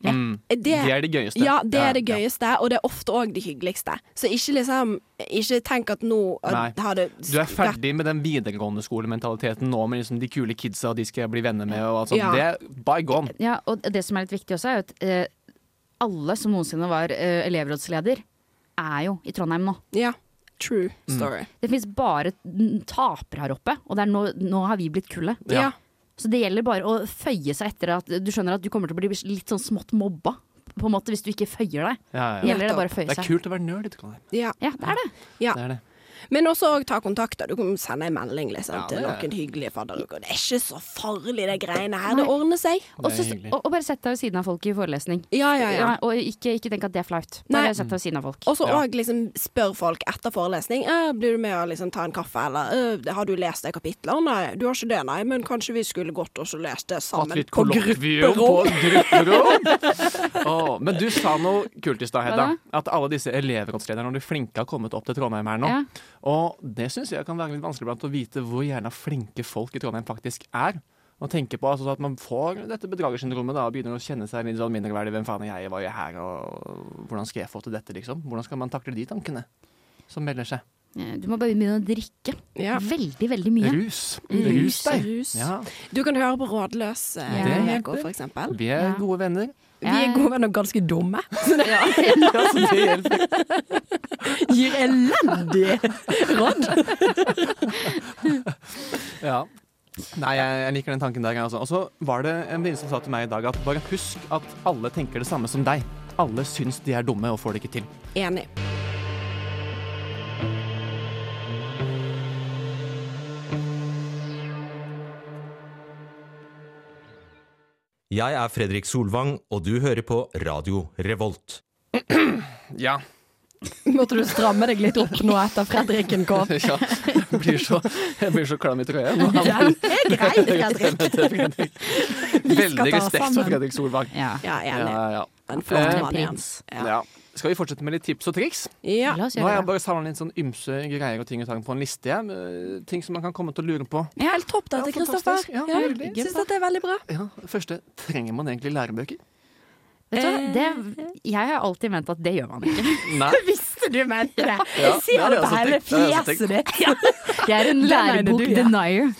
Speaker 5: Det,
Speaker 4: Mm. Det er det gøyeste.
Speaker 5: Ja, det
Speaker 4: Ja,
Speaker 5: er det gøyeste, og det er ofte òg det hyggeligste. Så ikke liksom Ikke tenk at nå
Speaker 4: Nei.
Speaker 5: at har det
Speaker 4: Du er ferdig med den videregående skolementaliteten nå med liksom de kule kidsa og de skal jeg bli venner med og alt sånt.
Speaker 5: Ja.
Speaker 4: Det er by gone.
Speaker 3: ja. Og det som er litt viktig også, er jo at eh, alle som noensinne var eh, elevrådsleder, er jo i Trondheim nå.
Speaker 5: Ja. True
Speaker 4: Mm.
Speaker 5: story.
Speaker 3: Det fins bare n- tapere her oppe, og det er nå, nå har vi blitt kullet.
Speaker 5: Ja.
Speaker 4: Ja.
Speaker 3: Så det gjelder bare å føye seg etter at du skjønner at du kommer til å bli litt sånn smått mobba. På en måte, hvis du ikke føyer deg.
Speaker 4: Ja,
Speaker 3: Det
Speaker 4: ja, ja.
Speaker 3: gjelder det bare å føye
Speaker 4: Det
Speaker 3: seg.
Speaker 4: er kult å være nerd i Trondheim.
Speaker 5: ja.
Speaker 3: Ja, det er det.
Speaker 5: ja.
Speaker 4: Det er det.
Speaker 5: Men også og ta kontakt. da. Du kan sende en melding liksom,
Speaker 4: Ja,
Speaker 5: til
Speaker 4: det er-
Speaker 5: noen hyggelige fadderuker. Det er ikke så farlig, det greiene her. Det ordner seg.
Speaker 3: Og, så,
Speaker 4: hyggelig.
Speaker 3: og, og bare sett deg ved siden av folk i forelesning.
Speaker 5: Ja, ja, ja.
Speaker 3: Ja, og ikke, ikke tenk at det er flaut.
Speaker 5: Nei.
Speaker 3: Bare sett deg ved siden av folk.
Speaker 5: Og så òg liksom spør folk etter forelesning «Øh, Blir du med å liksom ta en kaffe, eller «Øh, har du lest det kapitlet? Nei, du har ikke det, nei, men kanskje vi skulle gått og så lest det
Speaker 4: Hatt
Speaker 5: sammen.
Speaker 4: litt kollokvium på grupperom. Å, men du sa noe kult i stad, Hedda.
Speaker 3: Hva
Speaker 4: At alle disse elevrådslederne og de flinke har kommet opp til Trondheim her nå.
Speaker 3: Ja.
Speaker 4: Og det syns jeg kan være litt vanskelig blant å vite hvor gjerne flinke folk i Trondheim faktisk er. Og tenke på altså, at man får dette bedragersyndromet da, og begynner å kjenne seg litt sånn mindreverdig. Hvem faen er jeg, hva gjør jeg her, og hvordan skal jeg få til dette, liksom? Hvordan skal man takle de tankene som melder seg?
Speaker 3: Eh, Du må bare begynne å drikke.
Speaker 5: Ja.
Speaker 3: Veldig, veldig mye. Mm.
Speaker 4: Rus. Rus deg.
Speaker 5: Rus.
Speaker 4: Ja.
Speaker 5: Du kan høre på Rådløs eh,
Speaker 3: Ja.
Speaker 5: denne
Speaker 4: Det
Speaker 5: uka, for eksempel.
Speaker 4: Vi er
Speaker 3: Ja.
Speaker 4: gode venner.
Speaker 6: Vi er gode venner og ganske dumme.
Speaker 4: Ja, så det hjelper.
Speaker 6: Gir elendig råd.
Speaker 4: Ja. Nei, jeg, jeg liker den tanken der. jeg Også. Og så var det en venninne som sa til meg i dag at bare husk at alle tenker det samme som deg. Alle syns de er dumme og får det ikke til.
Speaker 5: Enig.
Speaker 11: Jeg er Fredrik Solvang, og du hører på Radio Revolt.
Speaker 4: Ja.
Speaker 6: Måtte du stramme deg litt opp nå etter Fredrikken kom?
Speaker 4: Jeg blir så, jeg blir så klam i trøya. nå.
Speaker 6: Den er grei, Fredrik.
Speaker 4: Veldig
Speaker 6: ta oss
Speaker 4: respekt for
Speaker 6: sammen.
Speaker 4: Fredrik Solvang.
Speaker 3: Ja.
Speaker 5: Ja, enig.
Speaker 4: Ja, ja.
Speaker 5: En flott
Speaker 4: Eh,
Speaker 5: mann igjen.
Speaker 3: prins.
Speaker 5: Ja.
Speaker 4: ja. Skal vi fortsette med litt tips og triks?
Speaker 5: Ja.
Speaker 3: La oss
Speaker 4: Nå har
Speaker 3: gjøre
Speaker 4: jeg
Speaker 3: det.
Speaker 4: bare samla litt sånn ymse greier og ting og tang på en liste. jeg. Eh, Ting som man kan komme til å lure på.
Speaker 3: Ja.
Speaker 6: Helt topp dette,
Speaker 4: Ja,
Speaker 6: Kristoffer.
Speaker 4: fantastisk. Ja,
Speaker 6: Ja,
Speaker 4: veldig.
Speaker 6: Syns dette er veldig bra.
Speaker 4: Ja, Første trenger man egentlig lærebøker?
Speaker 3: Vet du, hva? det, jeg har alltid ment at det gjør man ikke.
Speaker 4: Nei.
Speaker 6: Visste du mente det?
Speaker 4: Ja,
Speaker 6: Jeg sier
Speaker 4: det
Speaker 6: det
Speaker 4: har jeg også
Speaker 6: på hele
Speaker 4: tenkt. Det har jeg også
Speaker 6: fjeset ditt.
Speaker 3: Jeg er en
Speaker 6: mener du, ja.
Speaker 3: lærebok-denier.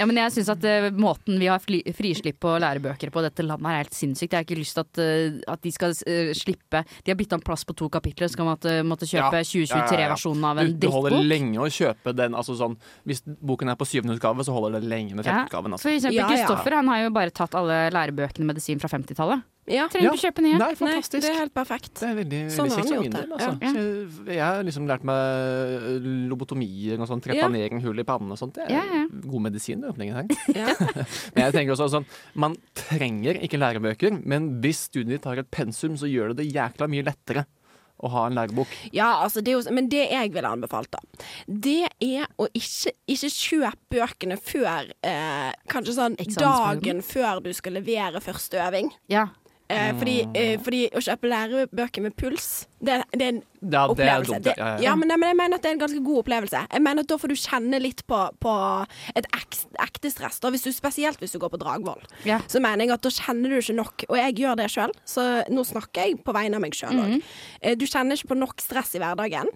Speaker 3: Ja, men jeg synes at eh, Måten vi har fly, frislipp på lærebøker på dette landet, her er helt sinnssykt. Jeg har ikke lyst til at, eh, at de skal eh, slippe De har bytta om plass på to kapitler, så kan man måtte, måtte
Speaker 4: Ja.
Speaker 3: kjøpe 2023-versjonen av
Speaker 4: Du,
Speaker 3: en
Speaker 4: du holder
Speaker 3: drittbok.
Speaker 4: lenge å kjøpe den. Altså sånn, hvis boken er på syvende utgave, så holder det lenge med
Speaker 3: Ja.
Speaker 4: femte utgaven. Altså.
Speaker 3: For eksempel
Speaker 5: Ja, ja.
Speaker 3: Kristoffer han har jo bare tatt alle lærebøkene i medisin fra 50-tallet.
Speaker 5: Ja.
Speaker 3: Trenger ikke kjøpe nye.
Speaker 4: Nei,
Speaker 5: Nei,
Speaker 4: fantastisk.
Speaker 5: det er helt perfekt.
Speaker 4: Det er veldig,
Speaker 5: Sånn
Speaker 4: veldig kjekt
Speaker 5: har han
Speaker 4: for
Speaker 5: gjort
Speaker 4: min
Speaker 5: det.
Speaker 4: del. Altså. Så Jeg jeg har liksom lært meg eh, lobotomier og sånn,
Speaker 5: Ja.
Speaker 4: trepanering, hull i pannen og sånt. Det er
Speaker 3: Ja, ja.
Speaker 4: god medisin, det åpningen her.
Speaker 5: Ja.
Speaker 4: Men jeg tenker også sånn, man trenger ikke lærebøker, men hvis studiet ditt har et pensum, så gjør det det jækla mye lettere å ha en lærebok.
Speaker 5: Ja, altså det er jo, men det jeg ville anbefalt, da, det er å ikke, ikke kjøpe bøkene før eh, Kanskje sånn
Speaker 3: Eksamensperioden.
Speaker 5: dagen før du skal levere første øving.
Speaker 3: Ja.
Speaker 4: Ah.
Speaker 5: Eh, fordi, eh, fordi å kjøpe lærebøker med puls, det, det er en
Speaker 4: Ja, det er
Speaker 5: opplevelse.
Speaker 4: dumt.
Speaker 5: Det,
Speaker 4: Ja, ja, ja.
Speaker 5: ja, men, nei, men jeg mener at det er en ganske god opplevelse. Jeg mener at Da får du kjenne litt på, på et ek, ekte stress, da, hvis du, spesielt hvis du går på Dragvoll.
Speaker 3: Ja.
Speaker 5: Så mener jeg at da kjenner du ikke nok, og jeg gjør det sjøl, så nå snakker jeg på vegne av meg sjøl òg.
Speaker 3: Mhm.
Speaker 5: Du kjenner ikke på nok stress i hverdagen,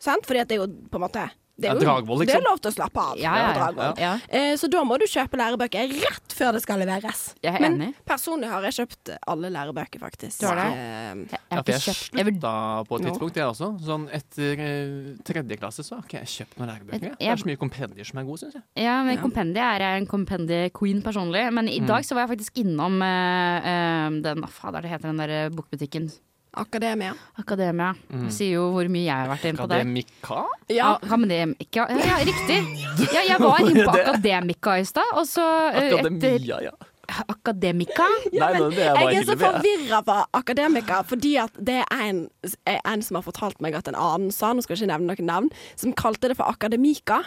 Speaker 5: sant? fordi at det er jo på en måte det er,
Speaker 4: Ja,
Speaker 5: jo,
Speaker 4: Dragvoll, liksom.
Speaker 5: det er lov til å slappe av
Speaker 3: Ja, ja,
Speaker 5: på
Speaker 3: ja.
Speaker 5: Dragvoll.
Speaker 3: Ja.
Speaker 5: Eh, Så da må du kjøpe lærebøker rett før det skal leveres.
Speaker 3: Jeg er
Speaker 5: Men
Speaker 3: enig.
Speaker 5: personlig har jeg kjøpt alle lærebøker, faktisk.
Speaker 3: Du har det?
Speaker 5: Eh,
Speaker 3: Jeg,
Speaker 4: Ja,
Speaker 3: har
Speaker 4: for
Speaker 3: ikke
Speaker 4: jeg
Speaker 3: kjøpt jeg, vil,
Speaker 4: slutta på et
Speaker 5: Nå.
Speaker 4: tidspunkt, jeg også. Sånn etter eh, tredje klasse så har ikke jeg kjøpt noen lærebøker. jeg. Det er så mye kompendier som er gode, syns jeg.
Speaker 3: ja, Mm. men Kompendiet er jeg en kompendie-queen personlig. Men i dag så var jeg faktisk innom eh, eh, den Hva fader det heter den der eh, bokbutikken?
Speaker 5: Akademia.
Speaker 3: Akademia. Det sier jo hvor mye jeg har vært inne på der.
Speaker 4: Akademika?
Speaker 3: Mm. Ja. Akademika ja, ja, riktig. Ja, jeg var inne på Akademika i stad, og så eh, etter
Speaker 4: Akademia, ja.
Speaker 3: Akademika.
Speaker 4: Nei, men det er bare
Speaker 5: Jeg er så
Speaker 4: hyggelig, det.
Speaker 5: forvirra på akademiker, fordi at det er en,
Speaker 6: Eh,
Speaker 5: en som har fortalt meg at en annen sa, nå skal jeg ikke nevne noen navn, som kalte det for akademika.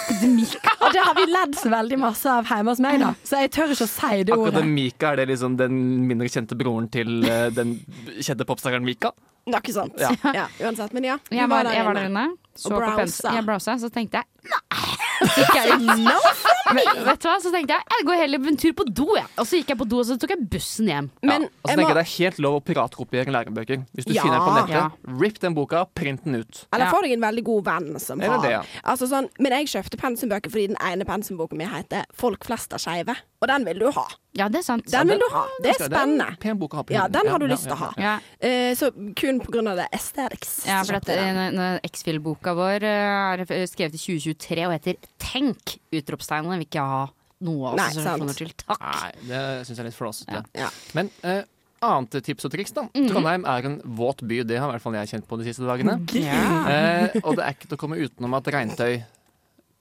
Speaker 6: Og det har vi ledd så veldig masse av hjemme hos meg, da. Så jeg tør ikke å si det ordet.
Speaker 4: Akademika, er det liksom den mindre kjente broren til eh, den kjente popstjernen Mika?
Speaker 5: Noe sånt.
Speaker 4: Ja.
Speaker 5: Ja. uansett, men ja. vi
Speaker 3: Jeg var, jeg var der inne, så på
Speaker 5: browsa.
Speaker 3: pensel. Jeg browsa, så tenkte jeg Nei! Altså, Så gikk jeg ut. Vet vet du hva? Så tenkte jeg jeg går heller en tur på do, jeg. Og så gikk jeg på do, og så tok jeg bussen hjem.
Speaker 5: Men
Speaker 4: ja. Og så
Speaker 5: jeg
Speaker 4: tenker
Speaker 5: må,
Speaker 4: jeg det er helt lov å piratkopiere lærebøker. Hvis du
Speaker 5: Ja.
Speaker 4: finner den på nettet,
Speaker 3: Ja.
Speaker 4: rip den boka, print den ut.
Speaker 5: eller
Speaker 3: Ja.
Speaker 5: får deg en veldig god venn som
Speaker 4: Eller
Speaker 5: har
Speaker 4: det, ja.
Speaker 5: altså sånn, Men jeg kjøpte pensumbøker fordi den ene pensumboken min heter 'Folk flest er skeive', og den vil du ha.
Speaker 3: Ja, det er sant.
Speaker 5: Den vil du ha. Det
Speaker 4: Ja,
Speaker 5: er spennende.
Speaker 4: en pen bok å ha på
Speaker 5: Ja,
Speaker 4: hyllen.
Speaker 5: den har du
Speaker 4: ja,
Speaker 5: lyst til å
Speaker 4: ja,
Speaker 5: ha.
Speaker 4: ja.
Speaker 3: Ja.
Speaker 5: Eh, Så kun på grunn av det aesthetics.
Speaker 3: Ja,
Speaker 5: så
Speaker 3: for
Speaker 5: kjøpte jeg den.
Speaker 3: at eh, X-Fill-boka vår eh, er f- skrevet i 2023 og heter Tenk! Utropstegn. Den vil ikke jeg ha noe altså,
Speaker 5: Nei,
Speaker 3: assosiasjoner
Speaker 5: sant.
Speaker 3: til. Takk.
Speaker 4: Nei, det syns jeg er litt flåsete.
Speaker 5: Ja. Mhm.
Speaker 4: Men eh, annet tips og triks, da. Trondheim er en våt by. Det har i hvert fall jeg kjent på de siste dagene.
Speaker 5: Mm.
Speaker 3: Ja.
Speaker 4: Eh, og det er ikke til å komme utenom at regntøy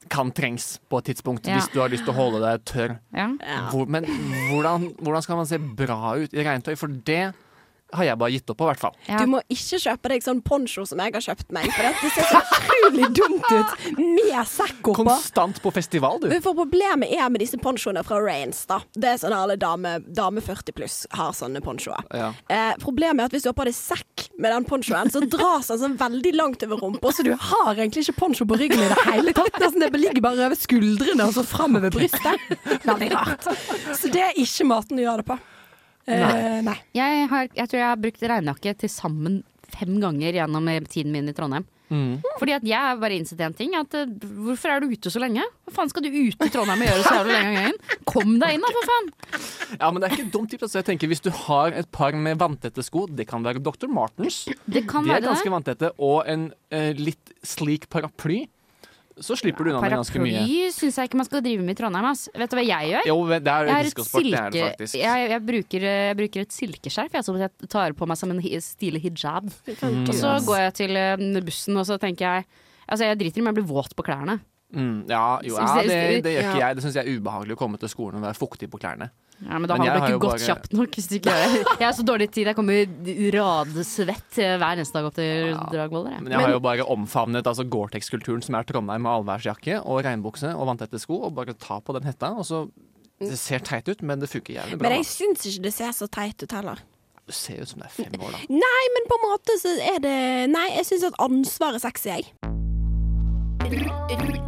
Speaker 4: kan trengs på et tidspunkt
Speaker 3: Ja.
Speaker 4: hvis du har lyst til å holde deg tørr.
Speaker 3: Ja.
Speaker 4: Hvor, men hvordan, hvordan skal man se bra ut i regntøy? For det har jeg bare gitt opp på, i hvert fall.
Speaker 3: Ja.
Speaker 5: Du må ikke kjøpe deg sånn poncho som jeg har kjøpt meg, for det ser så utrolig dumt ut.
Speaker 6: Med sekk oppå.
Speaker 4: Konstant på festival, du.
Speaker 5: Men for problemet er med disse ponchoene fra Rains, da. Det er sånn alle dame, dame 40 pluss har sånne ponchoer.
Speaker 4: Ja.
Speaker 5: Eh, problemet er at hvis du har på deg sekk med den ponchoen, så dras den sånn veldig langt over rumpa, så du har
Speaker 6: Har egentlig ikke poncho på ryggen i det hele tatt. Nesten Det ligger bare over skuldrene og så framover brystet. Veldig rart. Så det er ikke måten du gjør det på. Eh, nei.
Speaker 3: Jeg, har, jeg tror jeg har brukt regnjakke til sammen fem ganger gjennom eh, tiden min i Trondheim.
Speaker 4: Mm.
Speaker 3: Fordi at jeg har bare innsett en ting. At, eh, hvorfor er du ute så lenge? Hva faen skal du ute i Trondheim og gjøre så jævlig lenge om gangen? Kom deg inn da, for faen!
Speaker 4: ja, men det er ikke et dumt tips. Altså. Jeg tenker Hvis du har et par med vanntette sko, det kan være Dr. Martens.
Speaker 3: Det kan
Speaker 4: De er
Speaker 3: være
Speaker 4: ganske
Speaker 3: det.
Speaker 4: vanntette. Og en eh, litt sleek paraply. Så slipper du unna med ganske mye.
Speaker 3: Paraply syns jeg ikke man skal drive med i Trondheim. Ass. Vet du hva jeg gjør?
Speaker 4: Jo, det er
Speaker 3: Jeg, har et
Speaker 4: diskosport, det er det
Speaker 3: silke,
Speaker 4: faktisk.
Speaker 3: jeg, jeg, bruker, jeg bruker et silkeskjerf jeg, som jeg tar på meg som en hi- stilig hijab.
Speaker 4: Mm.
Speaker 3: Og så
Speaker 5: altså.
Speaker 3: går jeg til eh, bussen og så tenker jeg Altså Jeg driter i om jeg blir våt på klærne.
Speaker 4: Mm, ja, jo, ja,
Speaker 3: Hvis dere-
Speaker 4: det, det gjør ikke
Speaker 5: ja.
Speaker 4: jeg. Det syns jeg er ubehagelig å komme til skolen og være fuktig på klærne.
Speaker 3: Ja, men da
Speaker 4: Men
Speaker 3: har
Speaker 4: jeg
Speaker 3: det
Speaker 4: har jo
Speaker 3: ikke gått
Speaker 4: bare-
Speaker 3: kjapt nok. Hvis du ikke gjør det. Jeg har så dårlig tid. Jeg kommer radsvett eh, hver eneste dag opp til Dragvoller.
Speaker 4: Men
Speaker 3: jeg.
Speaker 4: jeg har jo bare omfavnet altså Gore-Tex-kulturen som er Trondheim med allværsjakke og regnbukse og vanntette sko, og bare ta på den hetta, og så Det ser teit ut, men det funker jævlig bra.
Speaker 5: Men jeg
Speaker 4: da.
Speaker 5: syns ikke det ser så teit ut heller.
Speaker 4: Du ser ut som du er fem år, da.
Speaker 5: Nei, men på en måte så er det Nei, jeg syns at ansvar er sexy, jeg.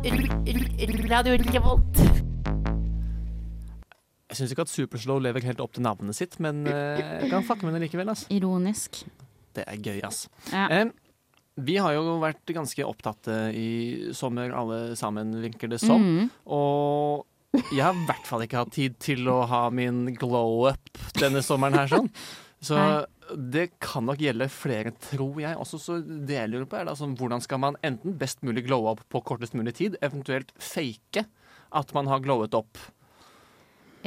Speaker 12: Radio Revolt.
Speaker 4: Jeg syns ikke at Superslow lever helt opp til navnet sitt, men eh, jeg kan fucke med det likevel. ass.
Speaker 3: Ironisk.
Speaker 4: Det er gøy, ass.
Speaker 3: Ja.
Speaker 4: Eh, vi har jo vært ganske opptatt eh, i sommer, alle sammen, virker det som.
Speaker 3: Mhm.
Speaker 4: Og jeg har i hvert fall ikke hatt tid til å ha min glow up denne sommeren her, sånn. Så det kan nok gjelde flere, tror jeg. Også så det jeg lurer på, er da sånn hvordan skal man enten best mulig glow up på kortest mulig tid, eventuelt fake at man har glowet opp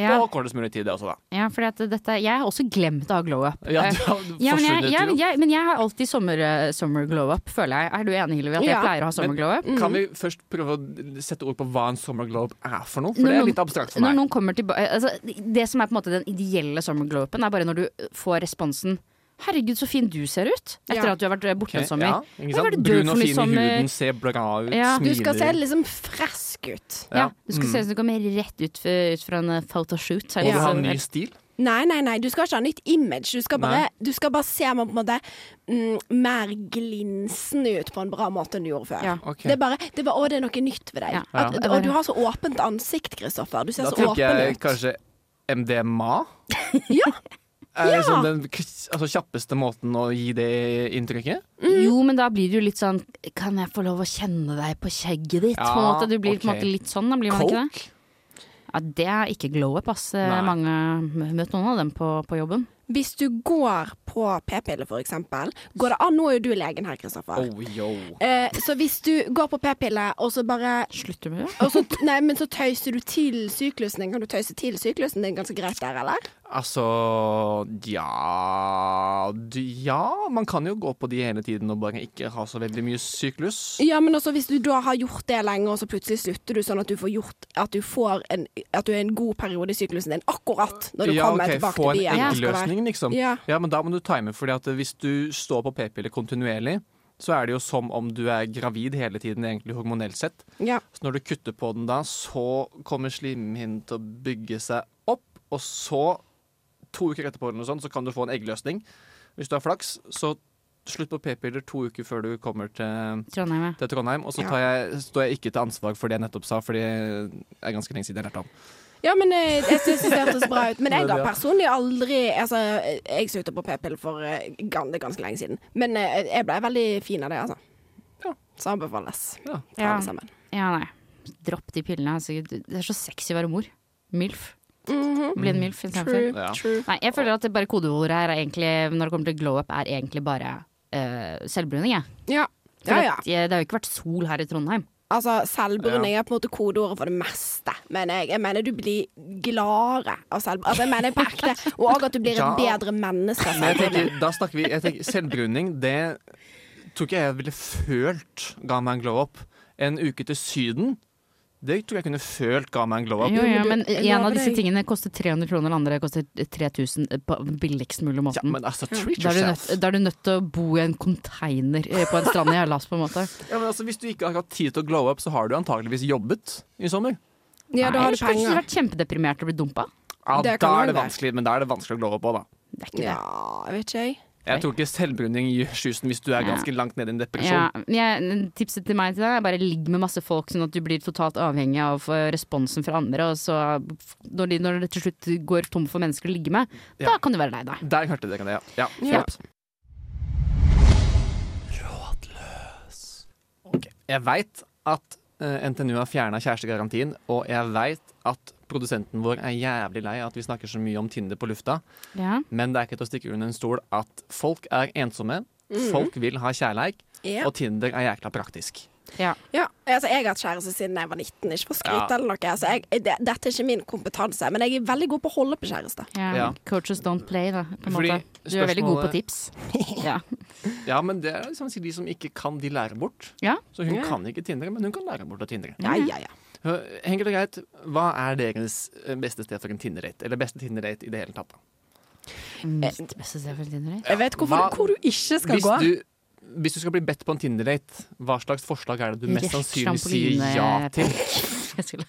Speaker 3: Ja.
Speaker 4: på kortest mulig tid, det også, da.
Speaker 3: Ja, fordi at dette, jeg har også glemt å ha glow up.
Speaker 4: Ja,
Speaker 3: Eh,
Speaker 4: du har
Speaker 3: men, jeg,
Speaker 4: forsvunnet
Speaker 3: jeg,
Speaker 4: jo.
Speaker 3: jeg, men jeg har alltid sommer, eh, summer glow up, føler jeg. Er du enig, Hillevi, at jeg mm. pleier å ha sommer
Speaker 4: Men
Speaker 3: glow up?
Speaker 5: Mm.
Speaker 4: Kan vi først prøve å sette ord på hva en summer glow up er for noe? For
Speaker 3: Når
Speaker 4: det
Speaker 3: noen-
Speaker 4: er litt abstrakt for
Speaker 3: Når
Speaker 4: meg.
Speaker 3: noen kommer tilba eh, altså, det som er på en måte den ideelle summer glow upen, er bare når du eh, får responsen Herregud, så fin du ser ut! Etter
Speaker 5: Ja.
Speaker 3: at du har vært eh, borte
Speaker 4: Ok,
Speaker 3: en sommer.
Speaker 4: ja, ikke sant?
Speaker 3: Hva var det du for
Speaker 4: Brun og
Speaker 3: noe
Speaker 4: fin i
Speaker 3: sommer?
Speaker 4: huden, ser bra ut,
Speaker 5: Du
Speaker 4: smiler.
Speaker 5: skal se liksom frisk ut.
Speaker 3: Ja, Du skal se ut som du kommer rett ut, f- ut fra en eh, photoshoot.
Speaker 4: Og du har en ny stil.
Speaker 5: Nei, nei, nei, du skal ikke ha nytt image. Du skal bare, du skal bare se meg på en måte mm, mer glinsende ut på en bra måte enn du gjorde før.
Speaker 3: Ja.
Speaker 4: Ok.
Speaker 5: Det er bare det er bare, Å, det er noe nytt ved deg.
Speaker 3: Ja.
Speaker 5: At,
Speaker 3: Ja.
Speaker 5: Og du har så åpent ansikt, Kristoffer. Du ser
Speaker 4: Da
Speaker 5: så
Speaker 4: tenker jeg
Speaker 5: åpen ut.
Speaker 4: kanskje MDMA.
Speaker 5: Ja.
Speaker 4: Er
Speaker 5: Ja.
Speaker 4: liksom den k- altså, kjappeste måten å gi det inntrykket?
Speaker 3: Mm. Jo, men da blir det jo litt sånn Kan jeg få lov å kjenne deg på skjegget ditt? på en
Speaker 4: Ja,
Speaker 3: måte. Du blir på en
Speaker 4: ok.
Speaker 3: måte litt sånn, da blir man ikke det? Ja, det er ikke glow up, ass. Eh,
Speaker 5: Nei.
Speaker 3: Mange møtt noen av dem på, på jobben.
Speaker 5: Hvis du går på p-piller, for eksempel, går det an Nå er jo du legen her, Kristoffer.
Speaker 4: Oh, yo.
Speaker 5: Eh, så hvis du går på p-pille, og så bare
Speaker 3: Slutter med det?
Speaker 5: og så, Nei, men så tøyser du til syklusen din. Kan du tøyse til syklusen din ganske greit der, eller?
Speaker 4: Altså ja d- Ja, man kan jo gå på de hele tiden og bare ikke ha så veldig mye syklus.
Speaker 5: Ja, men også hvis du da har gjort det lenge, og så plutselig slutter du sånn at du får gjort At du får en, at du er en god periode i syklusen din akkurat når du
Speaker 4: ja,
Speaker 5: kommer
Speaker 4: ok,
Speaker 5: tilbake
Speaker 4: få
Speaker 5: til byen.
Speaker 4: en eggløsning, liksom.
Speaker 5: Ja.
Speaker 4: Ja. men da må du time, fordi at hvis du står på p-piller kontinuerlig, så er det jo som om du er gravid hele tiden, egentlig hormonelt sett.
Speaker 5: Ja.
Speaker 4: Så når du kutter på den da, så kommer slimhinnen til å bygge seg opp, og så, to uker etterpå eller noe sånt, så kan du få en eggløsning. Hvis du har flaks, så slutt på p-piller to uker før du kommer til
Speaker 3: Trondheim, ja.
Speaker 4: til Trondheim, og så
Speaker 5: Ja.
Speaker 4: tar jeg, står jeg ikke til ansvar for det jeg nettopp sa, for det er ganske lenge siden jeg lærte om.
Speaker 5: Ja, men eh, jeg syns det hørtes bra ut. Men jeg
Speaker 4: Men
Speaker 5: har
Speaker 4: ja.
Speaker 5: personlig aldri Altså, jeg sluttet på p-piller for eh, gan- ganske lenge siden. Men eh, jeg ble veldig fin av det, altså. Så anbefales.
Speaker 4: Ja.
Speaker 5: Ta alle sammen.
Speaker 3: Ja, nei. Dropp de pillene. altså. Det er så sexy å være mor. Milf.
Speaker 5: Mhm.
Speaker 3: Bli en milf istedenfor.
Speaker 5: True,
Speaker 4: Ja.
Speaker 5: true.
Speaker 3: Nei, jeg føler at det bare kodeordet her er egentlig, når det kommer til glow up, er egentlig bare eh, selvbruning, jeg.
Speaker 5: Ja.
Speaker 3: For
Speaker 5: Ja, ja.
Speaker 3: at, eh, det har jo ikke vært sol her i Trondheim.
Speaker 5: Altså, selvbruning er på en måte kodeordet for det meste. Men jeg, jeg mener du blir gladere av selvbruning. Altså, jeg mener på ekte. Og òg at du blir et
Speaker 4: Ja.
Speaker 5: bedre menneske. av
Speaker 4: Men jeg
Speaker 5: selvbruning.
Speaker 4: tenker, da snakker vi jeg tenker, Selvbruning, det tror ikke jeg ville følt ga meg en glow up. En uke til Syden, det tror jeg kunne følt ga meg en glow up.
Speaker 3: Jo, jo, men
Speaker 5: jeg
Speaker 3: en av
Speaker 5: lover
Speaker 3: disse
Speaker 5: deg.
Speaker 3: tingene koster 300 kroner, den andre koster 3000 på billigst mulig
Speaker 4: Ja,
Speaker 3: måten.
Speaker 4: men altså, treat
Speaker 3: Da er, du nødt,
Speaker 4: yourself.
Speaker 3: da er du nødt til å bo i en konteiner eh, på en strand i Hellas, på en måte.
Speaker 4: Ja, men altså, hvis du ikke har hatt tid til å glow up, så har du antageligvis jobbet i sommer.
Speaker 3: Nei,
Speaker 5: Ja, da har du
Speaker 3: ellers kanskje du
Speaker 5: penger.
Speaker 3: vært kjempedeprimert og blitt dumpa.
Speaker 4: Ja,
Speaker 5: Det
Speaker 4: da
Speaker 5: kan
Speaker 4: er
Speaker 5: det
Speaker 4: det
Speaker 5: være.
Speaker 4: vanskelig, men da er det vanskelig å glow up òg, da.
Speaker 3: Det er ikke det.
Speaker 5: Ja, jeg vet ikke jeg.
Speaker 4: Jeg tror ikke selvbruning gjør susen hvis du er ganske langt nede i en
Speaker 3: Ja,
Speaker 4: depresjon.
Speaker 3: men jeg, tipset til meg til deg er bare ligg med masse folk, sånn at du blir totalt avhengig av eh, responsen fra andre. Og så f- når, de, når det til slutt går tom for mennesker å ligge med,
Speaker 4: Ja.
Speaker 3: da kan du være lei deg.
Speaker 4: Der hørte dere det, ja. ja.
Speaker 5: Ja.
Speaker 4: flott. Ok. Jeg veit at eh, NTNU har fjerna kjærestegarantien, og jeg veit at produsenten vår er jævlig lei av at vi snakker så mye om Tinder på lufta,
Speaker 3: Ja.
Speaker 4: men det er ikke til å stikke under en stol at folk er ensomme,
Speaker 3: Mm.
Speaker 5: Mhm.
Speaker 4: folk vil ha kjærleik,
Speaker 5: Ja.
Speaker 4: og Tinder er jækla praktisk.
Speaker 3: Ja.
Speaker 5: Ja, altså Jeg har hatt kjæreste siden jeg var 19, ikke for skryt
Speaker 4: Ja.
Speaker 5: eller noe. Altså, jeg, det, dette er ikke min kompetanse, men jeg er veldig god på å holde på kjærester.
Speaker 3: Ja.
Speaker 4: Ja.
Speaker 3: Coaches don't play, da. På en
Speaker 4: Fordi
Speaker 3: måte. Du er veldig god på
Speaker 4: spørsmålet-
Speaker 3: tips. Ja.
Speaker 4: Ja, men det er liksom de som ikke kan, de lærer bort.
Speaker 3: ja.
Speaker 4: Så hun
Speaker 5: Ja.
Speaker 4: kan ikke Tinder, men hun kan lære bort å tindre.
Speaker 5: Ja, ja, ja.
Speaker 4: Enkelt og greit, hva er deres eh, beste sted for en Tinder-date? Eller beste Tinder-date i det hele tatt? da?
Speaker 3: Mitt Mm. beste sted for en Tinder-date.
Speaker 5: Jeg vet hvorfor,
Speaker 4: Hva-
Speaker 5: hvor du ikke skal
Speaker 4: Hvis
Speaker 5: gå.
Speaker 4: du, hvis du skal bli bedt på en Tinder-date, hva slags forslag er det du mest
Speaker 3: Rett
Speaker 4: sannsynlig sier ja til?
Speaker 3: eh, Jeg skulle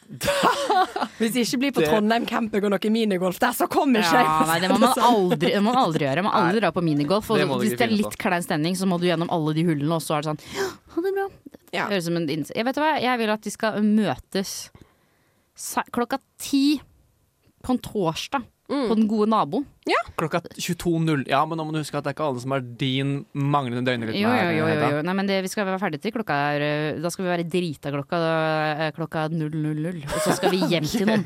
Speaker 6: Hvis det ikke blir på Trondheim camping og noe minigolf der, så kommer ikke jeg.
Speaker 3: Ja, nei, det må man aldri, det må man aldri gjøre. Man må aldri dra på minigolf. Og
Speaker 6: sånn, liksom. Det må du
Speaker 3: hvis
Speaker 6: ikke
Speaker 3: det er
Speaker 6: finne
Speaker 3: litt klein stemning, så må du gjennom alle de hullene, og så er det sånn «Ja, Ha det bra.
Speaker 5: Ja.
Speaker 3: Høres som en inns- jeg vet hva, jeg vil at de skal møtes se- klokka ti på en torsdag.
Speaker 6: Mm.
Speaker 3: På den gode naboen.
Speaker 4: Klokka 22.00. Ja, men nå må du huske at det er ikke alle som har din manglende døgnrytme.
Speaker 3: Jo, jo,
Speaker 4: her,
Speaker 3: jo. jo,
Speaker 4: Hedda.
Speaker 3: jo. Nei, men det, vi skal være ferdige til klokka er, eh, Da skal vi være drita klokka eh, klokka 000. Og så skal vi hjem til noen.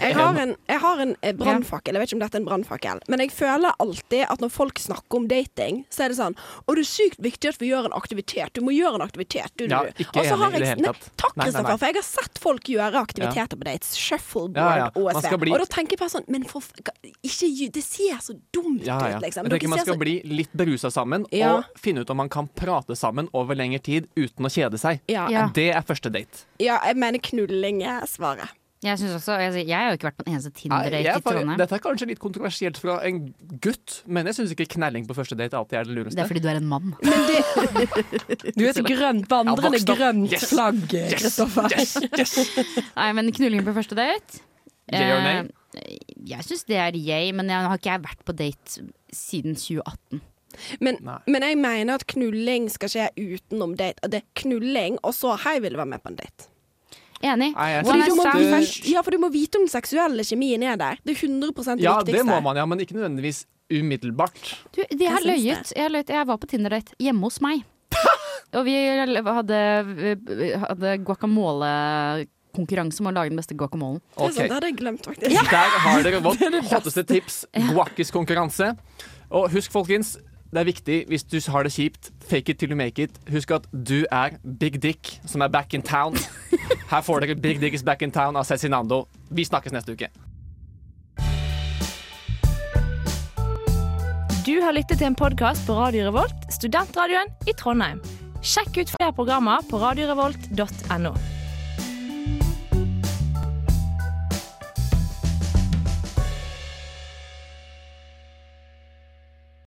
Speaker 5: Jeg har en, jeg har en eh, brannfakkel. Jeg vet ikke om dette er en brannfakkel, men jeg føler alltid at når folk snakker om dating, så er det sånn Og det er sykt viktig at vi gjør en aktivitet. Du må gjøre en aktivitet, du, du.
Speaker 4: Ja,
Speaker 5: du».
Speaker 4: ikke
Speaker 5: Og så
Speaker 4: enig
Speaker 5: har
Speaker 4: i det
Speaker 5: jeg-
Speaker 4: hele
Speaker 5: Nei,
Speaker 4: tatt. Nei, nei,
Speaker 5: Takk,
Speaker 4: nei.
Speaker 5: Kristoffer, for jeg har sett folk gjøre aktiviteter på dates. Shuffleboard,
Speaker 4: Ja, ja. Man
Speaker 5: OSV.
Speaker 4: skal bli-
Speaker 5: Og da tenker jeg bare sånn Men for, f- ikke, gi- det ser så dumt
Speaker 4: Ja, ja.
Speaker 5: ut, liksom.
Speaker 4: Jeg
Speaker 5: Dere
Speaker 4: tenker man
Speaker 5: ser
Speaker 4: skal
Speaker 5: så-
Speaker 4: bli litt berusa sammen,
Speaker 5: Ja.
Speaker 4: og finne ut om man kan prate sammen over lengre tid uten å kjede seg.
Speaker 5: Ja. Ja.
Speaker 4: Det er første date.
Speaker 5: Ja, jeg mener knulling er svaret.
Speaker 3: Jeg, synes også, jeg, jeg har jo ikke vært på en eneste
Speaker 4: Nei,
Speaker 3: Tinder-date
Speaker 4: jeg er
Speaker 3: i
Speaker 4: fa-
Speaker 3: Trondheim.
Speaker 4: dette er kanskje litt kontroversielt fra en gutt, men jeg syns ikke knelling på første date alltid er det lureste.
Speaker 3: Det er fordi du er en mann.
Speaker 6: Du er et grønt,
Speaker 4: Jeg
Speaker 6: vandrende
Speaker 4: har vokst opp.
Speaker 6: grønt
Speaker 4: Yes.
Speaker 6: flagg,
Speaker 4: Yes.
Speaker 6: Kristoffer.
Speaker 3: Nei, men knulling på første date
Speaker 6: Yay or nay?
Speaker 3: Eh, Jeg syns det er yay, men jeg har ikke jeg vært på date siden 2018.
Speaker 5: Men, men jeg mener at knulling skal skje utenom date. At det er knulling, og så 'hei, vil du være med på en date'?
Speaker 3: Enig.
Speaker 4: Nei, jeg
Speaker 5: Fordi
Speaker 4: synes
Speaker 5: du må
Speaker 4: det-
Speaker 5: vite, ja, for du må vite om den seksuelle kjemien er der. Det er 100 det
Speaker 4: Ja,
Speaker 5: viktigste.
Speaker 4: det må man, ja, men ikke nødvendigvis umiddelbart.
Speaker 3: Du, de har
Speaker 5: Jeg syns
Speaker 3: løyet. Jeg, har løyet. jeg var på Tinder-date hjemme hos meg. Og vi hadde, vi hadde guacamolekonkurranse om å lage den beste guacamolen.
Speaker 5: Det er sant, det hadde jeg glemt, faktisk.
Speaker 4: Der har dere vårt hotteste tips. Guakkis-konkurranse. Og husk, folkens, det er viktig hvis du har det kjipt, fake it till you make it. Husk at du er Big Dick, som er back in town. Her får dere Big Dick is back in town av Cezinando. Vi snakkes neste uke.
Speaker 13: Du har lyttet til en podkast på Radio Revolt, studentradioen i Trondheim. Sjekk ut flere programmer på radiorevolt.no.